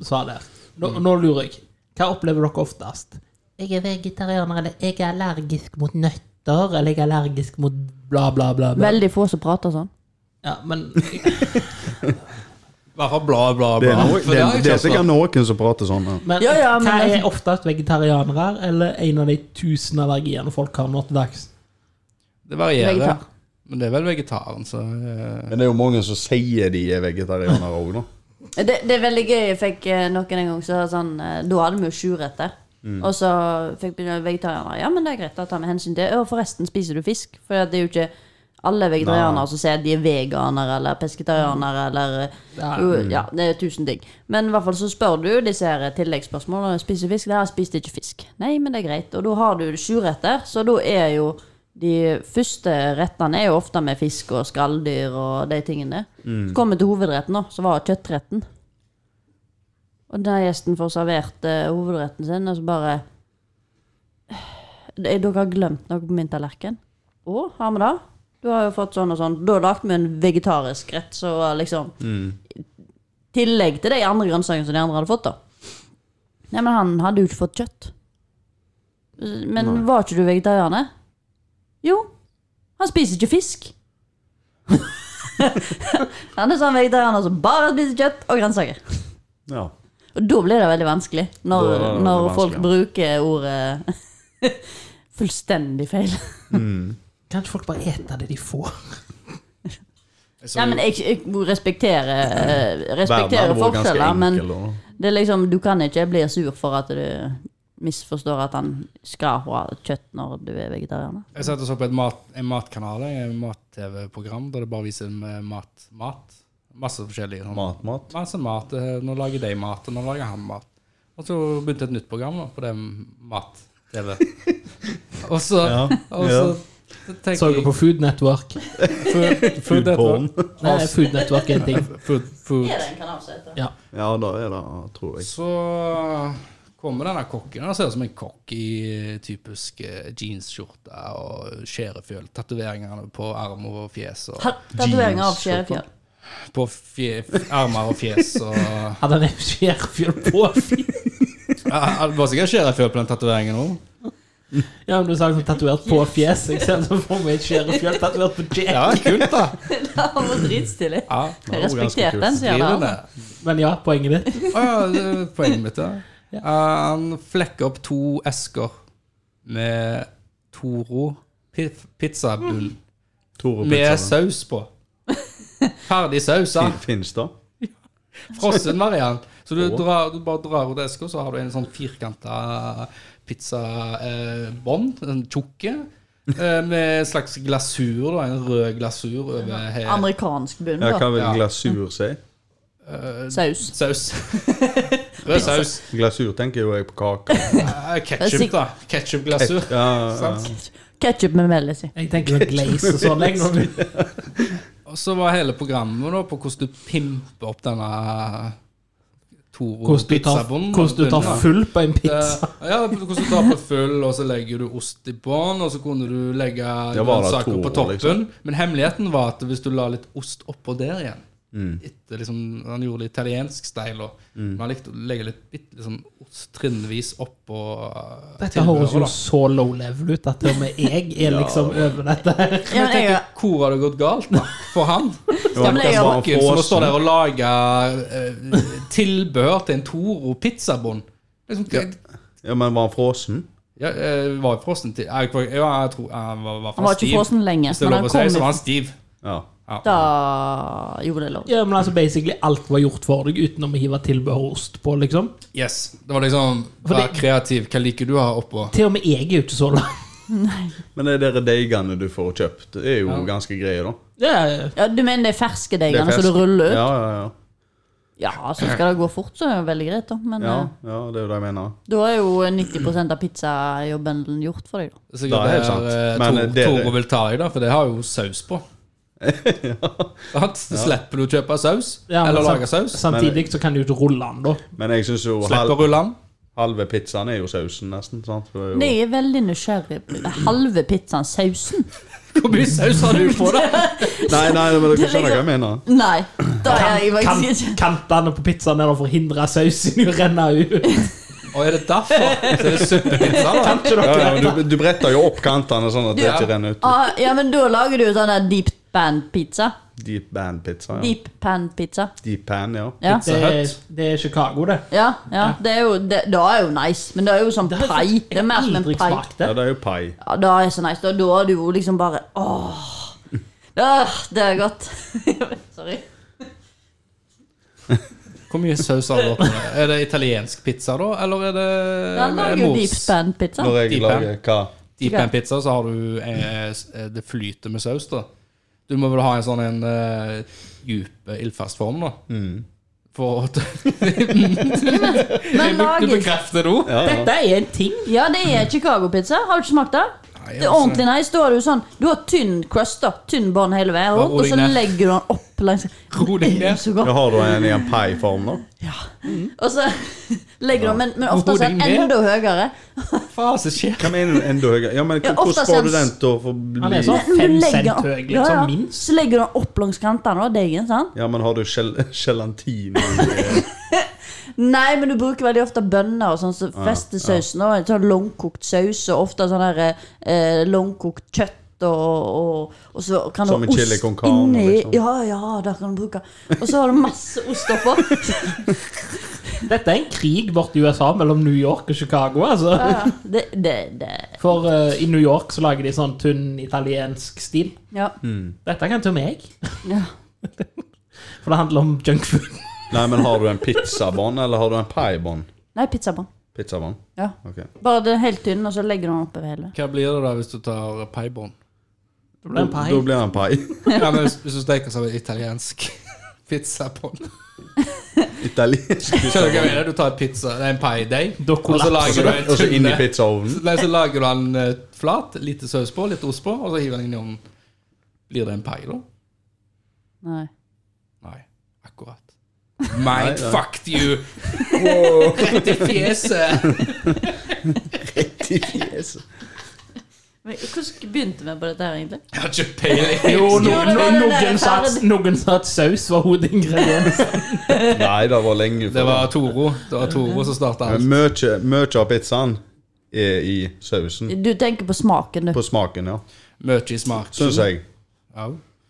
S2: sa der. Nå, nå lurer jeg. Hva opplever dere oftest? Jeg er vegetarianer, eller jeg er allergisk mot nøtter. smitter, eller jeg er allergisk mot bla, bla, bla. bla.
S4: Veldig få som prater sånn.
S2: Ja, men
S1: I hvert fall bla, bla, bla.
S3: Det er, no,
S1: For har jeg
S3: det, det er
S1: ikke hørt
S3: sikkert
S1: om.
S3: noen som prater sånn. ja.
S2: Men,
S4: Ja, ja, men
S2: hva
S4: altså-
S2: er oftest vegetarianere, eller en av de tusen allergiene folk har nå til dags?
S1: Det varierer.
S4: Vegetar.
S1: Men det er vel vegetaren, så eh,
S3: Men det er jo mange som sier de er vegetarianere òg, da.
S4: Det, det er veldig gøy. Jeg fikk eh, noen en gang så sånn, eh, Da hadde vi jo sjurette. Og så fikk vi vegetarianere. Ja, men det er greit å ta med hensyn til. Og forresten, spiser du fisk? For det er jo ikke alle vegetarianere
S3: Nei.
S4: som sier at de er veganere eller pesketarianere eller eh,
S2: Ja.
S4: jo, Ja, Mm. det er Mm. tusen ting. Men i hvert fall så spør du disse her tilleggsspørsmålene. Spiser du fisk? Nei, jeg spiste ikke fisk. Nei, men det er greit. Og da har du sjurette, så da er jo de første rettene er jo ofte med fisk og skalldyr og de tingene. Så kom vi til hovedretten, da, så var det kjøttretten. Og den gjesten får servert eh, hovedretten sin, og så bare «Eh, Dere har glemt noe på min tallerken? Å, har vi det? Du har jo fått sånn og sånn. Da lagde vi en vegetarisk rett, så var liksom
S1: Mm.
S4: I tillegg til de andre grønnsakene som de andre hadde fått, da. Nei, men han hadde jo ikke fått kjøtt. Men var ikke du vegetarianer? Jo. Han spiser ikke fisk. han er sånn vegetarianer som bare spiser kjøtt og grønnsaker.
S3: Ja.
S4: Og da blir det veldig vanskelig, når,
S3: Da er det veldig
S4: når
S3: vanskelig,
S4: folk
S3: ja.
S4: bruker ordet fullstendig feil.
S3: Mm.
S2: Kanskje folk bare eter det de får?
S1: så-
S4: Nei, men jeg, jeg respekterer, eh,
S3: Verden
S4: respekterer
S3: hadde vært ganske
S4: forskjeller, men
S3: enkel, da.
S4: det er liksom, du kan ikke bli sur for at du misforstår at han skal ha kjøtt når du er vegetarianer.
S1: Jeg satt og så på et mat, en matkanal, en mat-TV-program, der det bare viser med mat. mat. Masse forskjellige. Sånn.
S3: Mat, mat.
S1: Masse mat. eh, Nå lager de mat, og nå lager han mat. Og så begynte et nytt program da, på det mat-TV. og så,
S3: Ja,
S1: og så tenker
S2: Så du på Food Network?
S1: jeg food, food
S3: Food porn.
S2: Nei, Food Network er en ting.
S1: network. Food, food.
S4: Er det en kanal som heter det?
S2: Ja.
S3: Ja, da er det, tror jeg.
S1: Så kommer denne kokken. Han ser ut som en kokk i typisk eh, jeansskjorte og skjærefjøl. Tatoveringene på arm og fjes. Og,
S4: Ta- Tatoveringer av
S3: Jeans,
S4: skjærefjell.
S1: på fje, f- armer og fjes og
S2: Hadde han en skjærfjøl på?
S1: Ja, Det var sikkert skjærefjøl på den tatoveringen òg.
S2: Ja, men du sa liksom tatovert på fjeset. Jeg ser så for meg et skjærefjøl tatovert på Jack.
S1: Ja, kult, da.
S4: Det var dritstilig.
S1: Ja,
S3: var
S4: Jeg
S3: ganske
S4: respekterte
S3: kult.
S4: den, sier
S1: driver
S4: jeg.
S1: det.
S2: Men ja, poenget ditt.
S1: Å ja, det er poenget mitt, ja. Eh, han flekker opp to esker med Toro pi- pizzabunn
S3: Tore
S1: med
S3: Mm. Pizza.
S1: saus på. Ferdig sausa.
S3: Fins det?
S1: Frossen variant. Så du,
S3: Å.
S1: drar, du bare drar ut eska, så har du en sånn firkanta pizzabånd, en tjukke, eh, med en slags glasur, da, en rød glasur over he-
S4: Amerikansk bunn,
S3: Ja,
S4: da.
S3: hva vil
S1: Ja.
S3: glasur si?
S4: Saus.
S1: saus. Rød saus.
S3: Glasur tenker jo jeg på kake.
S1: Ketsjup, da. Ketsjupglasur.
S3: Ja, ja, ja.
S1: Sant?
S4: Ketchup med mellis i.
S2: Jeg tenker sånn glaze og sånn. jeg, når du-
S1: Og så var hele programmet da på hvordan du pimper opp denne Toro
S2: Hvordan du tar-
S1: pizzabonden. Eh,
S2: hvordan du tar full på en pizza.
S1: Ja, hvordan du tar på full, og så legger du ost i bånn, og så kunne du legge
S3: Det var da
S1: grønnsaker på
S3: Toro,
S1: toppen.
S3: liksom.
S1: Men hemmeligheten var at hvis du la litt ost oppå der igjen
S3: Mm.
S1: etter liksom, Han gjorde det italiensk style, og man likte å legge litt, bitte litt sånn ost trinnvis oppå eh,
S2: Dette høres jo
S1: tilbehøret, da.
S2: så low level ut at til og med jeg er liksom over dette her.
S4: Ja, men jeg,
S1: Hvor har det gått galt da, for han?
S3: Ja,
S1: Stakkars
S3: men
S4: jeg-
S1: Bakken som må stå
S3: Frossen.
S1: der og lage eh, tilbehør til en Toro pizzabond. Liksom,
S3: ja, men var han frossen?
S1: ja, eh, var jo frossen til Ja, jeg tror ja, jeg tror- han var, var,
S4: han var ikke frossen lenge.
S1: Hvis det er
S4: men
S1: lov å
S4: han
S1: si,
S4: kom liksom.
S1: så
S4: jo-
S1: var han stiv.
S3: Ja.
S4: Da gjorde det er lov.
S2: Ja, men altså basically alt var gjort for deg utenom å hive tilbehørost på, liksom.
S1: Yes. Det var liksom Vær kreativ. Hva liker du å ha oppå?
S2: Til og med jeg er jo ikke så lang.
S3: Men de der deigene du får kjøpt, det er jo
S1: Ja.
S3: ganske greie, da.
S2: Ja,
S4: Ja, du mener det er ferske
S3: Det er
S4: deigene som du
S3: fersk.
S4: ruller ut?
S3: Ja, ja, ja.
S4: Ja, så skal det gå fort, så er det veldig greit, da. Men
S3: ja,
S4: eh,
S3: ja det er jo det jeg mener.
S4: da er jo 90 av pizzajobben gjort for deg, da.
S1: Så
S3: Da er det helt sant. Men, eh, dere-
S1: Toro vil ta deg, da, for det har jo saus på. Sant? Så Slipper du å kjøpe saus?
S2: ja, men
S1: eller
S2: sam-
S1: lage saus?
S2: Samtidig så kan du jo ikke rulle den, da.
S3: Men jeg syns jo
S1: Slipper
S3: halv,
S1: å rulle den?
S3: halve pizzaen er jo sausen, nesten. sant? For
S4: Det
S3: det er jo,
S4: er veldig nysgjerrig på halve pizzaen sausen.
S1: Hvor mye saus har du på, da?
S3: nei, nei, men dere
S4: Det liksom-
S3: skjønner hva jeg
S4: ligger-
S3: mener.
S4: Nei, da er jeg
S2: Kan,
S4: faktisk ikke
S2: kantene på pizzaen er der for å hindre sausen i å renne ut.
S1: Og er det derfor? Så er det suppepizza, da?
S3: Ja, ja, men du, du bretter jo opp kantene sånn at det
S1: Ja.
S3: ikke renner ut.
S4: Ah, ja, men da lager du jo sånn der deep pan-pizza.
S3: Deep band pizza. Ja.
S4: Deep pan-pizza.
S3: Deep pan, ja.
S4: Ja.
S2: Det, er- det er Chicago, det.
S4: Ja, ja, det er jo det, Da er jo nice, men det er jo sånn
S2: har jeg
S4: pai.
S2: faktisk-
S4: Det er mer som en
S2: aldri
S4: pai.
S2: smakt det.
S3: Ja, det er jo pai.
S4: Ja, da er det så nice. Da, da er det jo liksom bare Åh. Øh, det er godt. Sorry.
S1: Hvor mye saus har du oppi? der? Er det italiensk pizza, da? Eller er det
S4: Den lager jo deep pan-pizza.
S3: Når jeg
S1: Deep pan.
S3: lager hva?
S1: Deep pan pizza, så har du eh, s- eh, Det flyter med saus, da. Du må vel ha en sånn en eh, djup eh, ildfast form, da. For at
S4: Men
S1: Du
S4: lager
S1: bekrefter det òg.
S3: Ja, ja.
S2: Dette er en ting.
S4: Ja, det er Chicago-pizza. Har du ikke smakt det? Det er
S1: altså.
S4: ordentlig nice. Da har du sånn Du har tynn crust, da. Tynn bånd hele veien
S1: Bare
S4: rundt,
S1: ro
S4: og
S1: deg
S4: så
S1: ned.
S4: legger du den opp langs
S1: Ro deg
S4: Det er
S1: ned.
S4: så godt.
S3: Ja, har du en i en pai-form, da?
S4: Og så legger du den, men, men ofte
S1: Ro
S4: så
S1: deg
S4: er den
S1: ned.
S4: enda høyere.
S1: Faen, så skjer
S3: Hva mener du enda høyere? Ja, men
S4: Ja,
S3: hvordan
S4: oftest
S3: får du
S4: en-
S3: den til å få
S2: Han er
S3: bli
S2: sånn
S4: Men
S2: fem
S4: du legger den
S2: cent
S4: opp-
S2: høy,
S4: ja,
S2: liksom.
S4: ja.
S2: Minst.
S4: Så legger du den opp langs kantene av deigen. sant?
S3: Ja, men har du gel gelatin i-
S4: Nei, men du bruker veldig ofte bønner og sånn, så fester sausen. Og en sånn langkokt saus, og ofte sånn der eh, langkokt kjøtt. Og, og, og så kan du
S3: Som
S4: ha
S3: en chili
S4: ost
S3: con carne,
S4: inni.
S3: liksom.
S4: Ja, ja, der kan du bruke Og så har du masse ost oppå.
S2: Dette er en krig borte i USA mellom New York og Chicago. altså.
S4: Ja, ja. Det, det, det.
S2: For eh, i New York så lager de sånn tynn italiensk stil.
S4: Ja.
S3: Mm.
S2: Dette kan til meg,
S4: ja.
S2: for det handler om junkfood.
S3: Nei, men har du en pizzabånd, eller har du en pai-bånd?
S4: Nei, pizzabånd.
S3: Pizzabånd?
S4: Ja.
S3: Ok.
S4: Bare det er helt tynn, og så legger du den oppover hele.
S1: Hva blir det da hvis du tar paibånd?
S2: Det ble en pai.
S3: Da blir det en pai.
S1: Ja, men hvis, hvis du steker som en italiensk pizzabånd
S3: Italiensk
S1: Skjønner du hva jeg
S3: pizzabånd.
S1: mener? Du tar en pizza, det er en paideig,
S2: Da
S1: og så
S2: kollapser
S1: lager du en
S3: Og så inn i
S1: tynne-
S3: pizzaovnen.
S1: Nei, så lager du den eh, flat, lite saus på, litt ost på, og så hiver den inn i ovnen. Blir det en pai, da?
S4: Nei.
S1: Nei. Akkurat.
S3: Nei,
S1: Mind
S3: det-
S1: fucked you! Rett i fjeset!
S4: Men Hvordan begynte vi på dette her, egentlig?
S1: Jeg har ikke peiling.
S2: Jo,
S4: Jo,
S2: no,
S4: det
S2: no,
S4: var det der
S2: noen, sa at,
S4: ferdig.
S2: noen sa at saus var hovedingrediensen.
S3: Nei, det var lenge
S1: Det
S3: før.
S1: var Toro Det var Toro som starta alt.
S3: Mye mye av pizzaen er i sausen.
S4: Du tenker på smaken, du.
S3: På smaken, ja.
S1: Mye i smak.
S3: Syns jeg.
S1: Ja.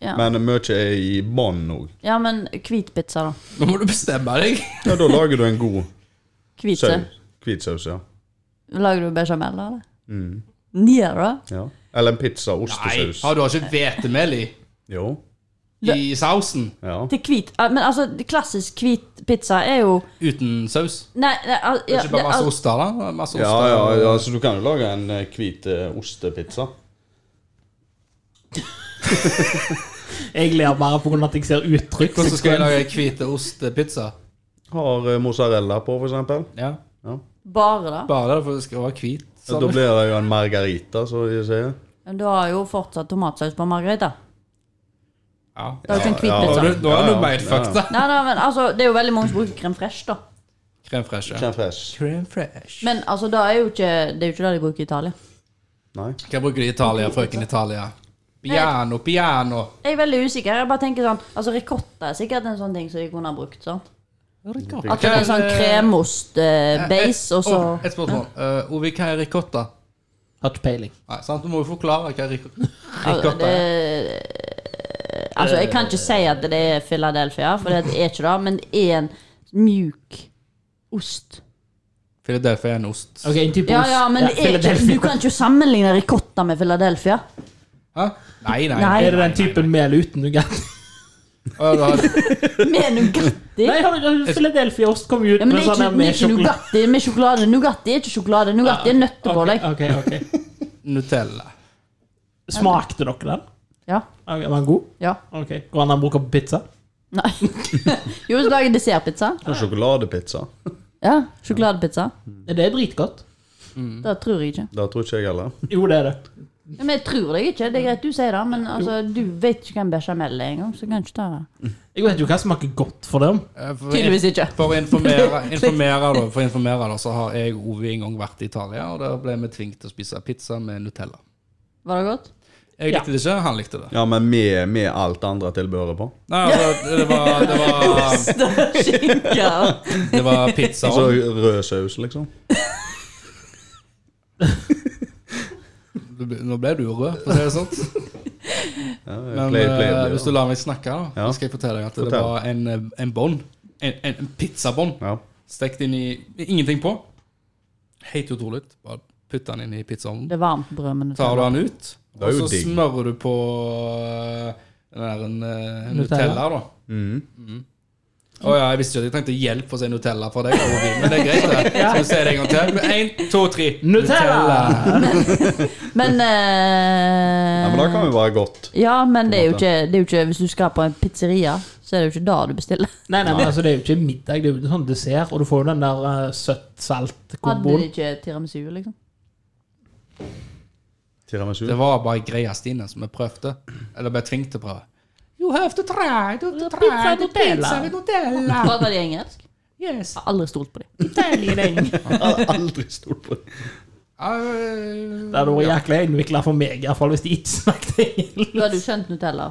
S4: Ja,
S3: Men mye er i bånd òg.
S4: ja men hvit pizza, da.
S1: Nå må du bestemme deg.
S3: Ja, da lager du en god
S4: Hvit saus.
S3: saus. Hvit saus, ja.
S4: Lager du bechamel, eller? Mm. Ja, da.
S3: ja. Eller en pizza
S1: Nei,
S3: ostesaus.
S1: har du har ikke hvetemel i,
S3: Jo.
S1: i sausen?
S3: Ja.
S4: Til hvit eh, Men altså, klassisk hvit pizza er jo
S1: Uten saus?
S4: Nei, nei al-
S1: Det
S4: ja,
S1: er ikke bare
S4: det-
S1: masse
S4: al-
S1: oster, da? Masse
S3: Ja,
S1: oster
S3: ja,
S1: og-
S3: ja, så du kan jo lage en eh, hvit eh, ostepizza.
S2: Jeg ler bare pga. at jeg ser uttrykk.
S1: Hvordan skal jeg lage hvite ostepizza?
S3: Har eh, mozzarella på, for eksempel.
S1: Ja.
S4: Bare, da.
S1: Bare derfor det skal være hvit. sånn. sa
S3: Da
S1: du.
S3: blir det jo en margarita, som de sier.
S4: Men du har jo fortsatt tomatsaus på margarita.
S1: Ja.
S4: Det er jo ikke en hvit
S3: Ja,
S1: Nå
S4: pizza.
S1: er du- Nå er
S3: Ja,
S1: du
S3: ja,
S1: made
S3: ja.
S1: fucked, da.
S4: Nei, nei, men altså, Det er jo veldig mange som bruker crème fresh, da.
S1: Crème fresh. Ja.
S3: Crème fresh.
S1: Crème fresh.
S4: Men altså, det er jo ikke det er jo ikke det de bruker i Italia.
S3: Nei.
S1: Hva bruker de i Italia, frøken Italia? Piano, piano.
S4: Jeg er veldig usikker. Jeg bare tenker sånn Altså, Ricotta er sikkert en sånn ting som de kunne ha brukt. sant? At det er en sånn
S3: Eh,
S4: kremost-base, og så
S1: Å, Et spørsmål. Eh, Ovi, hva er ricotta?
S2: Har ikke peiling.
S1: Nei, sant? Du må jo forklare hva rico-
S4: Altså,
S1: ricotta er.
S4: det, altså, jeg kan ikke si at det er Philadelphia, for det er ikke det. Men det er en mjuk ost.
S1: Philadelphia er en ost.
S2: Ok, en type
S4: Ja,
S2: ost.
S4: ja, men det er ikke,
S2: Philadelphia.
S4: du kan ikke sammenligne ricotta med Philadelphia.
S1: Hæ? Nei, nei.
S4: Nei.
S2: Er det den typen mel uten nougat?
S1: Å, du har-
S4: Med Nugatti.
S2: Nei,
S4: Ja,
S2: har du- Philadelphia-ost kom jo ut
S4: men
S2: med
S4: det er
S2: sånn
S4: ikke,
S2: der
S4: det
S2: med
S4: er ikke
S2: sjokolade.
S4: Nugatti med sjokolade. Nugatti er ikke sjokolade. Nugatti er nøttepålegg.
S2: Ok, ok, ok.
S1: Nutella.
S2: Smakte dere den?
S4: Ja.
S2: Ok, var den god?
S4: ja.
S2: Ok, Går den an å bruke på pizza?
S4: Nei. Jo, så lager jeg dessertpizza.
S3: Og sjokoladepizza.
S4: Ja, Sjokoladepizza.
S1: Mm.
S2: Det er dritgodt. Mm.
S4: Det tror jeg ikke.
S3: Det tror ikke jeg heller.
S2: Jo, det er det.
S4: Ja, Men jeg tror deg ikke. Det er greit du sier det, men altså, du vet ikke hva en bechamel er engang. Så kan ikke ta det.
S2: Jeg vet jo hva smaker godt for dem.
S1: Eh, for-
S4: Tydeligvis ikke.
S1: For å informere, informere, da, for å informere da, så har jeg og Ove en gang vært i Italia, og der ble vi tvunget til å spise pizza med Nutella.
S4: Var det godt?
S1: Jeg likte det ikke, han likte det.
S3: Ja, men med, med alt andre tilbehøret på.
S1: Nei, altså, det var, det var,
S4: Skinke.
S1: det var pizza.
S3: Altså rød saus, liksom.
S1: Du ble- Nå ble du jo rød, for å si det sånn.
S3: Ja,
S1: Men
S3: play, play,
S1: eh,
S3: play,
S1: hvis du lar meg snakke, da,
S3: Ja.
S1: så skal jeg fortelle deg at det
S3: Fortell.
S1: var en, eh, en bånd. En, en, en pizzabånd
S3: ja.
S1: stekt inn i ingenting på. Helt utrolig. Bare putte den inn i pizzaovnen.
S4: Det er varmt brød, men det
S1: tar du den ut,
S3: Det
S1: og
S3: er jo
S1: så
S3: digg.
S1: smører du på eh, den der en, eh, Nutella,
S2: Nutella.
S1: da.
S3: Mm.
S1: Å ja, jeg visste ikke at jeg trengte hjelp for å si Nutella fra deg, Ovi, men det er greit, det. Skal vi se det en gang til? Én, to, tre.
S2: Nutella!
S4: Men, eh,
S3: ja, men da kan vi være godt.
S4: Ja, men det er, jo
S3: måte.
S4: ikke, det er jo ikke Hvis du skal på en pizzeria, så er det jo ikke da du bestiller.
S2: Nei, nei, men altså, det er jo ikke middag, det er jo en sånn dessert, og du får jo den der eh,
S4: Hadde
S2: søtt-salt-komboen.
S4: de ikke tiramisu, liksom?
S3: Tiramisu.
S1: Det var bare greia Stine som jeg prøvde. Eller ble tvunget til å prøve. You have to try, to, to try the pizza with Nutella.
S4: Prater de engelsk?
S1: Yes.
S4: Har aldri stolt på dem.
S3: Jeg har aldri stolt på det.
S1: Uh,
S2: Det hadde vært jækla innvikla for meg, i hvert fall hvis de ikke snakket engelsk.
S4: Du hadde jo skjønt Nutella.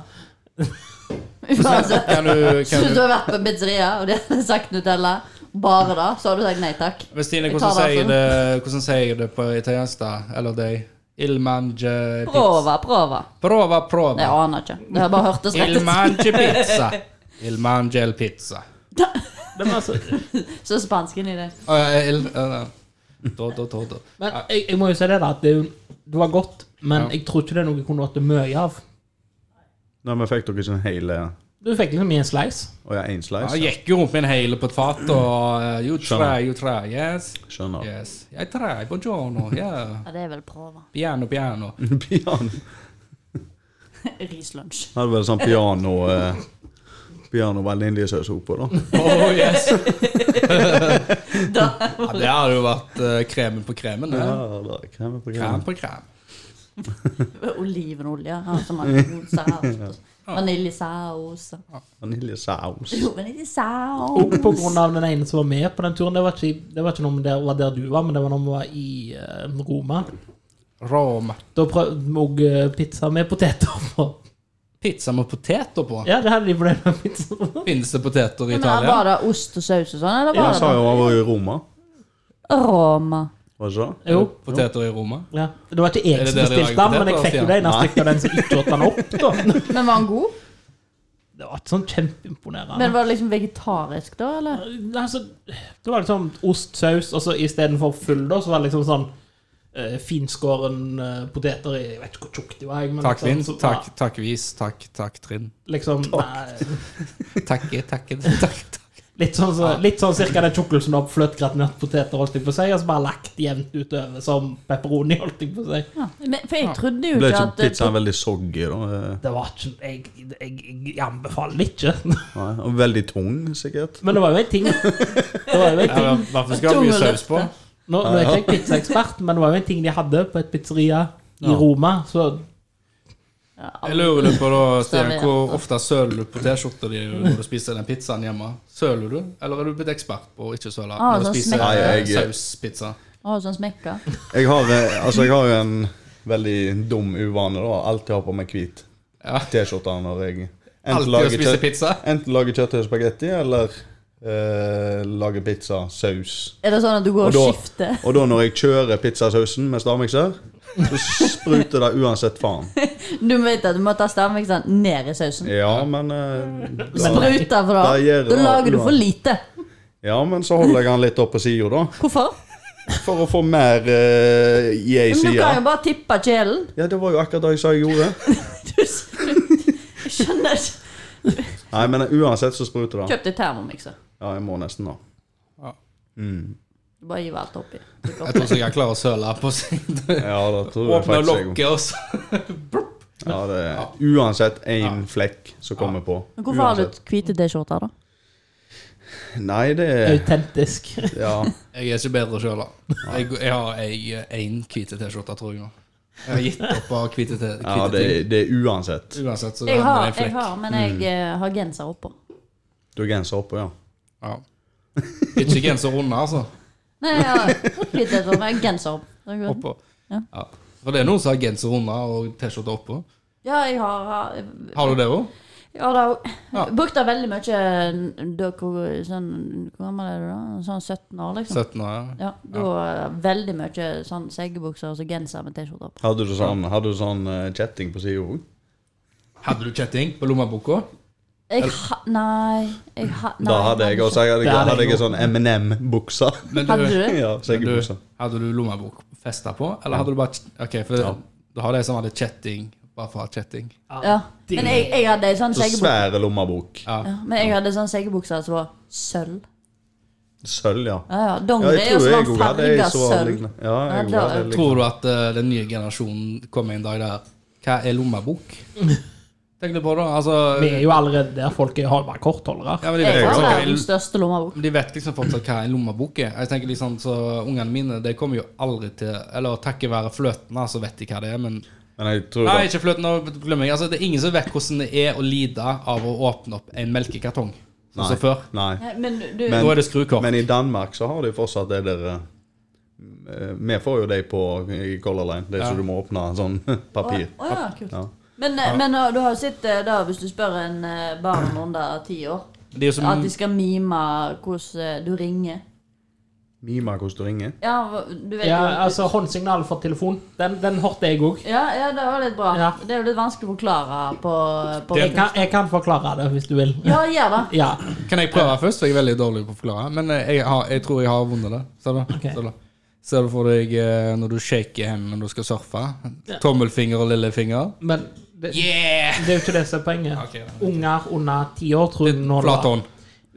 S4: Uansett.
S1: kan du,
S4: Hvis
S1: kan
S4: du
S1: du
S4: har vært på en pizzeria og de hadde sagt Nutella, bare da, så hadde du sagt nei takk.
S1: Men Stine,
S4: Jeg tar
S1: hvordan
S4: det,
S1: sier,
S4: altså.
S1: det, hvordan sier jeg det på italiensk, da? Eller deg? Il mange pizza.
S4: Prova, prova.
S1: Prova, prova.
S4: Jeg aner ikke. Det har bare hørtes rett
S1: Il
S4: ut.
S1: mange pizza. Il mange el pizza.
S2: Men, altså,
S4: Så spansken i det.
S1: Uh, il, uh, do, do, do, do.
S2: men jeg, jeg må jo si det, da, at det, er jo- det var godt, men
S1: Ja.
S2: jeg tror ikke det er noe jeg kunne hatt mye av.
S3: Nei, men fikk dere ikke en hel eh,
S2: Du fikk liksom i en slice.
S3: Å ja, én
S1: Ja,
S3: slice?
S1: Jeg gikk jo rundt med en hele på et fat og uh, You try, you try, yes.
S3: Skjønner.
S1: Yes. Jeg try, buongiorno, yeah.
S4: Ja, det er vel prova.
S1: Piano, piano.
S3: Piano.
S4: Rislunsj.
S3: Hadde vel sånn piano eh, Piano vaniljesaus oppå, da.
S1: Oh, yes.
S4: Da
S1: ja, det hadde jo vært eh, kremen på kremen.
S3: Ja,
S1: Det.
S3: da, krem på
S1: Krem
S3: krem.
S1: på krem.
S4: Olivenolje. Ja, som man koser her. Vaniljesaus.
S3: Vaniljesaus.
S4: Jo, vaniljesaus.
S3: Oh,
S2: Og på grunn av den ene som var med på den turen, det var ikke, det var ikke noe der, var der du var, men det var når vi var i eh, Roma.
S1: Roma.
S2: Da prøvde vi òg eh, pizza med poteter på.
S1: Pizza med poteter på.
S2: Ja, det hadde de på den pizzaen.
S1: Finnes det poteter i
S4: Men her
S1: Italia?
S4: Var det ost og saus og sånn, eller
S3: Han
S4: var
S3: sa
S4: det
S3: jo han var i Roma,
S4: Roma?
S3: var det ikke det?
S2: Jo.
S1: Poteter i Roma?
S2: Ja. Det var ikke
S1: Er
S2: jeg
S1: det
S2: som
S1: der de
S2: bestilte
S1: lager
S2: den, men jeg
S1: poteter,
S2: fikk jo det ene
S3: Nei.
S2: stykket av den som ikke åt den opp. Da.
S4: Men var den god?
S2: Det var ikke sånn kjempeimponerende.
S4: Men var det liksom vegetarisk da, eller?
S2: altså, det var liksom ost, saus, og så istedenfor full, da, så var det liksom sånn eh, finskåren eh, poteter i Jeg vet ikke hvor tjukk de var, jeg. men
S1: Takk, Vind.
S2: liksom, så-
S1: Takk, takk, Vis. Takk, takk, Trinn.
S2: Liksom, nei,
S1: Takke, takke, takk, takk.
S2: litt, sånn, så, litt sånn cirka den tjukkelsen av fløtegratinerte poteter, holdt jeg på å si, og så bare lagt jevnt utover som pepperoni, holdt jeg på å si.
S4: Ja. Men, for jeg trodde jo
S3: Ble
S4: ikke
S3: ikke
S4: at
S3: pizzaen veldig soggy, da? eh?
S2: Det var ikke Jeg, jeg, jeg, jeg anbefaler det ikke.
S3: Nei, og veldig tung, sikkert.
S2: Men det var jo en ting. Det var jo en ting.
S1: Ja, Hvorfor skal det ha mye saus på?
S2: Nå, nå er ikke jeg pizzaekspert, men det var jo en ting de hadde på et pizzeria i Roma. Så
S1: Jeg lurer litt på da, Stian,
S4: Servert,
S1: hvor
S4: da.
S1: ofte søler du på T-skjorta di når du spiser den pizzaen hjemme? Søler du, eller er du blitt ekspert på å ikke søle
S4: Ah,
S1: når du
S4: sånn
S1: spiser
S4: smekker.
S1: eh,
S3: Nei, jeg-
S1: sauspizza?
S4: Å, sånn smekka.
S3: Jeg har, eh, altså, jeg har jo en veldig dum uvane. da Alltid har på meg hvit
S1: Ja.
S3: T-skjorte når jeg enten
S1: Alltid å
S3: lager,
S1: spise
S3: kjøtt,
S1: pizza?
S3: enten lager kjøtt og spagetti eller eh, lager pizza saus.
S4: Er det sånn at du
S3: Og
S4: går og,
S3: da-
S4: skifter?
S3: Og da når jeg kjører pizzasausen med stavmikser, så spruter det uansett faen.
S4: Du vet at du må ta stavmikseren ned i sausen.
S3: Ja, men eh, da,
S4: Spruta for
S3: Da
S4: det.
S3: gjør
S4: Da
S3: det
S4: lager du for
S3: alt.
S4: lite.
S3: Ja, men så holder jeg han litt opp på sida, da.
S4: Hvorfor?
S3: For å få mer eh, i ei
S4: Men du
S3: side.
S4: kan jo bare tippe kjelen.
S3: Ja, det var jo akkurat det jeg sa jeg gjorde.
S4: Du s- Jeg skjønner ikke.
S3: Nei, men uansett så spruter det.
S4: Kjøp deg termomikser.
S3: Ja, jeg må nesten, da.
S1: Ja.
S4: Du Bare hiv alt oppi.
S1: Jeg tror ikke jeg klarer å søle på siden.
S3: Ja, det tror jeg
S1: Åpne
S3: faktisk jeg
S1: lokket og så
S3: ja, det er Uansett én flekk som kommer på.
S4: Men hvorfor har
S3: Uansett.
S4: du hvite T-skjorter, da?
S3: Nei, det er
S2: autentisk.
S3: Ja.
S1: Jeg er ikke bedre sjøl, da. Jeg, jeg har ei- én hvit T-skjorte, tror jeg nå. Jeg har gitt opp av hvite T-
S3: ja
S1: hvite
S3: det,
S1: ting.
S3: er- det er uansett.
S1: Uansett, så har
S4: Jeg har,
S1: jeg en
S4: jeg
S1: flekk.
S4: har men jeg
S3: Mm.
S4: eh, har genser oppå.
S3: Du har genser oppå, ja.
S1: Ja. Ikke genser under, altså.
S4: Nei, jeg har hvite T-skjorter, men jeg har genser opp. Det er godt.
S1: Oppå.
S4: Ja.
S1: Ja. For det er noen som har genser under og T-skjorte oppå.
S4: Ja, jeg har, har
S1: Har du det òg?
S4: Ja, da,
S1: Ja.
S4: Brukte veldig mye da, hvor, sånn, Hvor gammel er du da? Sånn 17 år, liksom.
S1: 17 år, ja.
S4: Ja, da Veldig mye sånn seggebukser og så genser med T-skjorte på.
S3: Hadde du sånn, hadde du sånn eh, kjetting på sida òg?
S1: Hadde du kjetting på lommeboka?
S4: Jeg ha... Nei, jeg ha... Nei,
S3: Da hadde jeg også.
S4: ikke.
S3: Jeg hadde,
S2: Det hadde
S3: hadde
S2: jeg
S3: jeg sånn M&M-bukse.
S1: Men
S4: Hadde du det?
S3: ja,
S1: men du,
S3: seggebukse.
S1: hadde du lommebok festa på, eller hadde du bare Ok, for
S3: Ja.
S1: du har de som hadde kjetting bare for å ha kjetting.
S4: Ja. Men jeg, jeg hadde ei sånn
S3: Så
S4: seggebukse
S3: svære lommebok.
S1: Ja.
S4: ja, Men jeg hadde sånn seggebukse som var sølv.
S3: Sølv, ja.
S4: Ja, ja.
S3: Ja,
S4: Dongeri
S3: jeg tror
S4: og så var
S3: jeg
S4: den
S3: òg hadde ei
S4: farga
S3: som var
S4: sånn sølv.
S3: lignende. Ja,
S4: Ja,
S3: jeg
S4: det
S3: også
S4: var-
S3: hadde liksom-
S1: Tror du at eh, den nye generasjonen kommer en dag der Hva er lommebok? Tenk litt på det. Altså
S2: Vi er jo allerede der folk er, har bare kortholdere.
S1: ja, men de,
S4: Jeg
S1: vet
S4: var
S1: liksom, hva en-
S4: verdens største lommebok.
S1: de vet liksom fortsatt hva en lommebok er. Jeg tenker liksom, så Ungene mine de kommer jo aldri til Eller takket være fløten, så vet de hva det er. Men
S3: Men jeg tror
S1: Nei,
S3: at
S1: ikke fløten av glemming. Altså, det er ingen som vet hvordan det er å lide av å åpne opp en melkekartong. Sånn som før.
S3: Nei.
S4: Nei, Eh, Men du
S3: Men-
S1: Nå er det skrukort.
S3: Men i Danmark så har de fortsatt det der eh, Vi får jo de på i Color Line, det
S1: Ja.
S3: som du må åpne sånn papir.
S4: Å, å ja, kult.
S3: Ja.
S4: Men, eh, men eh, du har jo sett eh, da, hvis du spør en eh, barn under ti år,
S1: Det er jo
S4: at
S1: som
S4: de skal mime hvordan eh, du ringer.
S3: Mime hvordan du ringer.
S4: Ja, hva- du vet
S2: Ja,
S4: jo
S2: altså Håndsignal for telefon, den, den hørte jeg òg.
S4: ja, ja, det var litt bra.
S2: Ja.
S4: Det er jo litt vanskelig å forklare på, på
S2: Jeg, kan- jeg kan forklare det, hvis du vil.
S4: Ja, gjør det.
S2: Ja.
S1: Kan jeg prøve først? For jeg er veldig dårlig på å forklare. Men eh, jeg, har, jeg tror jeg har vunnet det. Ser du?
S2: Ok.
S1: Ser du? Ser du for deg eh, når du shaker hendene når du skal surfe? Tommelfinger og lillefinger.
S2: Men det,
S1: Yeah!
S2: det er jo ikke det som er poenget.
S1: Ok, da.
S2: Unger under ti år, tror jeg nå
S1: Flat
S2: da-
S1: hånd.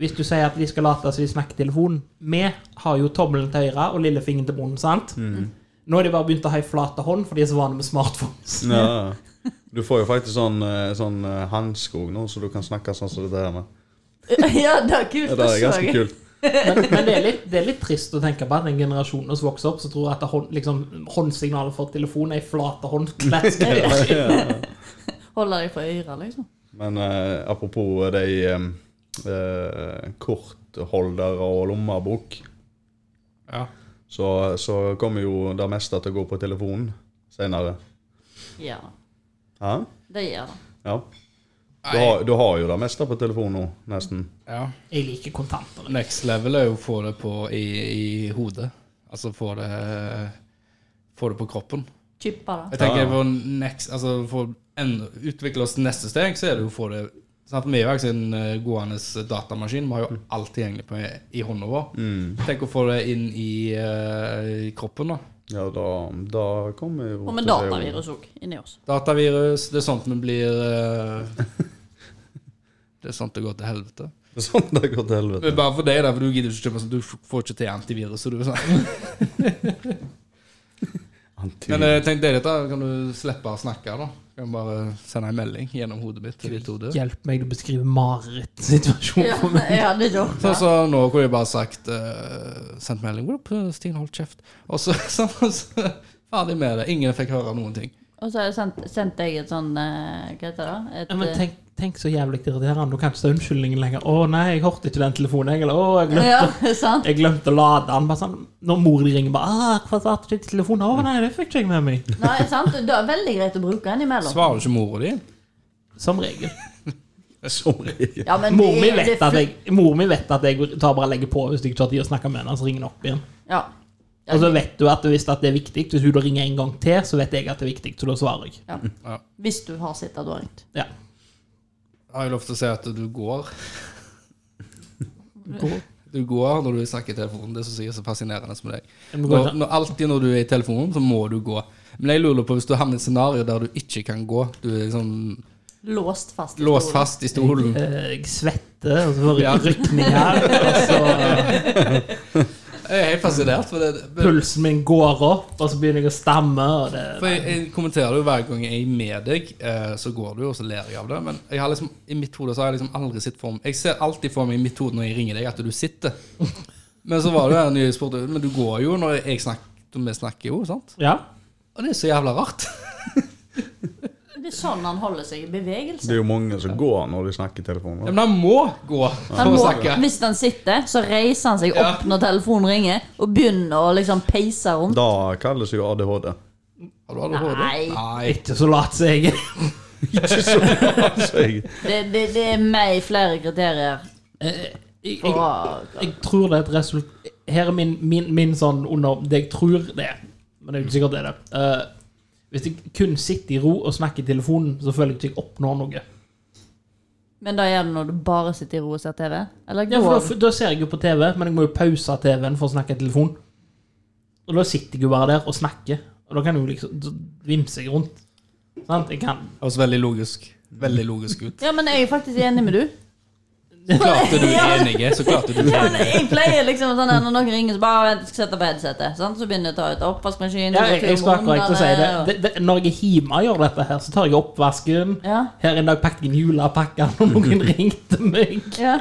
S2: Hvis du sier at de skal late som de snakker telefon Vi har jo tommelen til høyre og lillefingeren til bonden, sant? Nå har de bare begynt å ha ei flate hånd, for de er så vane med smartphones.
S3: Ja. Du får jo faktisk sånn, eh, sånn eh, hanske òg nå, så du kan snakke sånn som dette her med.
S4: Ja, det er kult.
S3: Ja, det er
S4: så
S3: ganske
S4: jeg.
S3: kult.
S2: Men, men det, er litt, det er litt trist å tenke på at den generasjonen som vokser opp, som tror at hånd, liksom, håndsignalet for telefon er ei flate hånd. Klask.
S3: Ja.
S4: Holder deg for øret, liksom.
S3: Men eh, apropos de eh, eh, kortholdere og lommebok,
S1: Ja.
S3: så, så kommer jo det meste til å gå på telefonen seinere.
S4: Ja,
S3: Hæ?
S4: det gjør det.
S3: Ja. Du har, du har jo det meste på telefonen nå, nesten.
S1: ja.
S2: Jeg liker kontanter.
S1: Next level er jo å få det på i, i hodet. Altså få det Få det på kroppen.
S4: Chipper det.
S1: Jeg tenker
S3: Ja.
S1: på next, altså for å utvikle oss neste steg, så er det jo å få det sant? Vi er jo ikke en eh, gående datamaskin. Vi har jo alt tilgjengelig på, i hånda vår.
S3: Mm.
S1: Tenk å få det inn i, eh, i kroppen, da.
S3: Ja, da, da kommer jo
S4: Og med
S3: til å se-
S4: datavirus òg inni oss.
S1: Datavirus, det er sånt vi blir eh, Det er sånt det går til helvete.
S3: Sånn det går til helvete.
S1: Men bare for deg, da, for du gidder ikke kjøpe sånn, du f- får ikke til antivirus. Så du, er sånn. Men eh, tenk deg dette, kan du slippe å snakke, da. Kan bare sende en melding gjennom hodet mitt til de to døde.
S2: Hjelp meg, du beskriver marerittsituasjonen
S4: Ja,
S2: for meg.
S4: jeg hadde ikke
S1: Sånn
S4: orka.
S1: som nå kunne jeg bare sagt eh, Sendt melding Hvor er Stine holdt kjeft? Og så, så, så ferdig med det. Ingen fikk høre noen ting.
S4: Og så har jeg sendt, sendt deg et sånn eh, Hva heter det? Et,
S2: Ja, men
S4: eh,
S2: tenk, tenk så jævlig irriterende. Du kan ikke ta unnskyldningen lenger. 'Å nei, jeg hørte ikke den telefonen, jeg.' Eller 'Å, jeg glemte,
S4: Ja, sant?
S2: jeg glemte å lade den.' Bare sånn, når mor di ringer, bare 'Ah, 'Hvorfor svarte du ikke til telefonen?' 'Å nei, det fikk ikke jeg med meg.'
S4: Nei, sant? Det er veldig greit å bruke innimellom.
S1: Svarer du ikke mora di?
S2: Som regel.
S3: Som regel.
S4: Ja, men
S2: Mor
S4: det-
S2: mi
S4: det
S2: vet, at jeg- mor mi vet at jeg tar bare legger på hvis jeg ikke har tid å snakke med henne. Så ringer hun opp igjen.
S4: Ja.
S2: Og så vet du at hvis at det er viktig, hvis hun da ringer en gang til, så vet jeg at det er viktig, så da svarer jeg.
S4: ja.
S1: Ja.
S4: Hvis du har sett at du har ringt.
S2: Ja.
S1: Har jeg lov til å si at du går?
S2: Går.
S1: Du går når du snakker i telefonen. Det syns jeg er så fascinerende som deg.
S2: Jeg må gå
S1: Når,
S2: til-
S1: når, alltid når du er i telefonen, så må du gå. Men jeg lurer på hvis du havner i et scenario der du ikke kan gå. Du er liksom
S4: Låst fast. i
S1: låst
S4: stolen.
S1: fast i stolen.
S2: Eh, Jeg svetter, og så får
S1: Ja.
S2: jeg rykning her. Og så
S1: Jeg er helt fascinert. For, det,
S2: pulsen min går opp, og så begynner jeg å stamme. Og det,
S1: for jeg, jeg kommenterer det jo hver gang jeg er med deg, eh, så går du, og så ler jeg av det. Men jeg har liksom, i mitt hode så har jeg liksom aldri sett for meg Jeg ser alltid for meg i mitt hode når jeg ringer deg, at du sitter. Men så var det jo den nye sporten Men du går jo når jeg snakker, vi snakker jo, sant?
S2: ja.
S1: Og det er så jævla rart.
S4: Det er sånn han holder seg i bevegelse.
S3: Det er jo mange som går når de snakker i telefonen.
S1: Ja, men han må gå for
S4: Han
S1: å
S4: må,
S1: snakke.
S4: hvis han sitter, så reiser han seg
S1: Ja.
S4: opp når telefonen ringer, og begynner å liksom peise rundt.
S3: Da kalles jo ADHD.
S1: Har du ADHD?
S4: Nei.
S1: Nei.
S2: Ikke så lat som jeg er.
S3: Ikke så bra, så jeg
S4: Det, det, det er meg i flere kriterier.
S2: Jeg, jeg,
S4: Bra.
S2: jeg tror det er et resultat Her er min, min, min sånn under Det jeg tror det er, men det er jo ikke sikkert det er det. Eh, hvis jeg kun sitter i ro og snakker i telefonen, så føler jeg ikke jeg oppnår noe.
S4: Men da gjør det når du bare sitter i ro og ser TV? Eller
S2: Ja, for
S4: går
S2: da, da ser jeg jo på TV, men jeg må jo pause TV-en for å snakke i telefon. Og da sitter jeg jo bare der og snakker, og da kan jeg jo liksom da vimser jeg rundt. Sant? Jeg kan
S1: Høres veldig logisk Veldig logisk ut.
S4: Ja, men jeg er faktisk enig med du.
S1: Så klarte du enige, så klarte du
S4: Ja, men
S1: enige.
S4: jeg pleier liksom sånn der, Når noen ringer, så bare vent, jeg skal sette på headsetet. Sant? Så begynner jeg å ta ut oppvaskmaskinen.
S2: ja,
S4: så
S2: jeg,
S4: tar
S2: jeg skal
S4: jeg
S2: akkurat til å si det.
S4: månedene,
S2: det, det. Når jeg er hjemme og gjør dette her, så tar jeg oppvasken.
S4: og- Ja.
S2: Her en dag pakket jeg en julepakke, og noen ringte meg.
S4: Ja.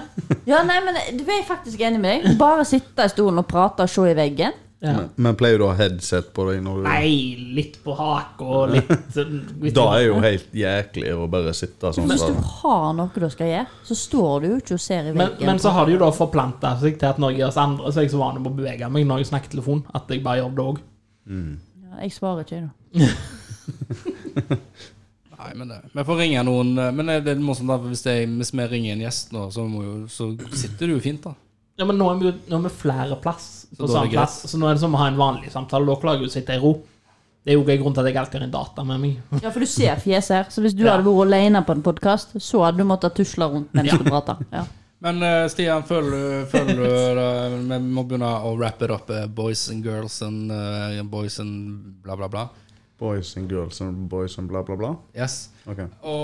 S4: ja, nei, men du er jeg faktisk enig med deg. Bare sitte i stolen og prate og se i veggen.
S2: Ja.
S3: Men, men pleier du å ha headset på deg når du
S2: Nei, litt på haka og litt, litt
S3: Da er jo helt jæklig å bare sitte sånn.
S4: Hvis
S3: sånn.
S4: du har noe du skal gjøre, så står du jo ikke og ser i
S2: men,
S4: veggen.
S2: men så har det jo da forplanta seg til at når jeg gjør oss andre, så er jeg så vant med å bevege meg når jeg snakker i telefon, at jeg bare gjør det òg.
S4: Ja, Jeg svarer ikke nå.
S1: Nei, men det Vi får ringe noen eh, Men det er morsomt da, for hvis, jeg, hvis vi ringer en gjest nå, så, må jo, så sitter du jo fint, da.
S2: Ja, men nå er vi jo nå er vi flere plass på
S1: da er
S2: samme
S1: det
S2: plass, så nå er det som å ha en vanlig samtale. Da klarer jeg å sitte i ro. Det er jo en grunn til at jeg alltid har en data med meg.
S4: Ja, for du ser fjeset her. Så hvis du
S2: Ja.
S4: hadde vært alene på en podkast, så hadde du måttet tusle rundt mens du prata. Ja.
S1: Men eh, Stian, føler du, føler du det- Vi må begynne å wrap it up. eh, Boys and girls and eh, boys and bla, bla, bla.
S3: Boys and girls and boys and bla, bla, bla.
S1: Yes.
S3: Ok.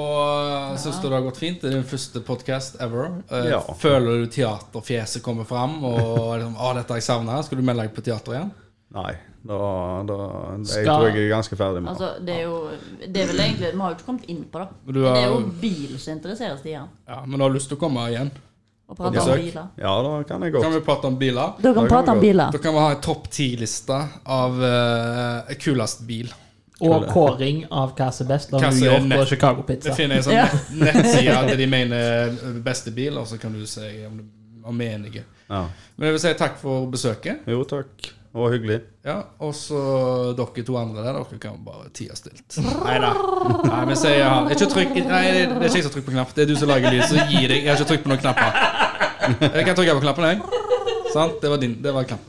S1: Og syns du det har gått fint? Det er din første podcast ever. Eh,
S3: Ja.
S1: Føler du teaterfjeset kommer fram? Og liksom, å, dette har jeg savna. Skal du melde deg på teater igjen?
S3: Nei, da, da Jeg
S2: Skal-
S3: tror jeg er ganske ferdig med det.
S4: Altså, det er jo Det er vel egentlig Vi har jo ikke kommet inn på det.
S1: Men
S4: Men
S1: du har-
S4: Det er jo bil som interesserer Stian.
S1: Ja, Men du har lyst til å komme igjen?
S4: Og prate
S1: besøk.
S4: om biler.
S3: Ja, da kan jeg
S1: Kan
S3: godt.
S1: vi prate om biler?
S4: Dere kan
S3: kan
S4: prate om
S3: vi
S1: Da
S4: biler.
S1: kan vi ha en topp ti-liste av eh, kulest bil.
S2: Og kåring av hva som er best av
S1: Hva
S2: New
S1: som er
S2: York og
S1: nett-
S2: Chicago
S1: Det
S2: Pizza.
S1: finner jeg en sånn
S4: Ja.
S1: nett- nettside der de mener eh, beste bil, og så kan du si om du om vi er enige.
S3: Ja.
S1: Men jeg vil si takk for besøket.
S3: Jo, takk. Det var hyggelig.
S1: Ja, og så dere to andre der, dere kan bare tie stilt. Neida. Nei da. Ikke trykk Nei, det det er ikke jeg som trykker på knapp. Det er du som lager lyd, så gi deg. Jeg har ikke trykt på noen knapper. Jeg kan trykke på knappen, jeg. Sant? Det var din. Det var knappen.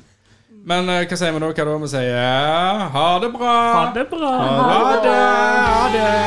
S1: Men eh, hva sier vi da? Hva da? Vi sier ha det bra.
S2: Ha det bra!
S1: Ha det. Ha det.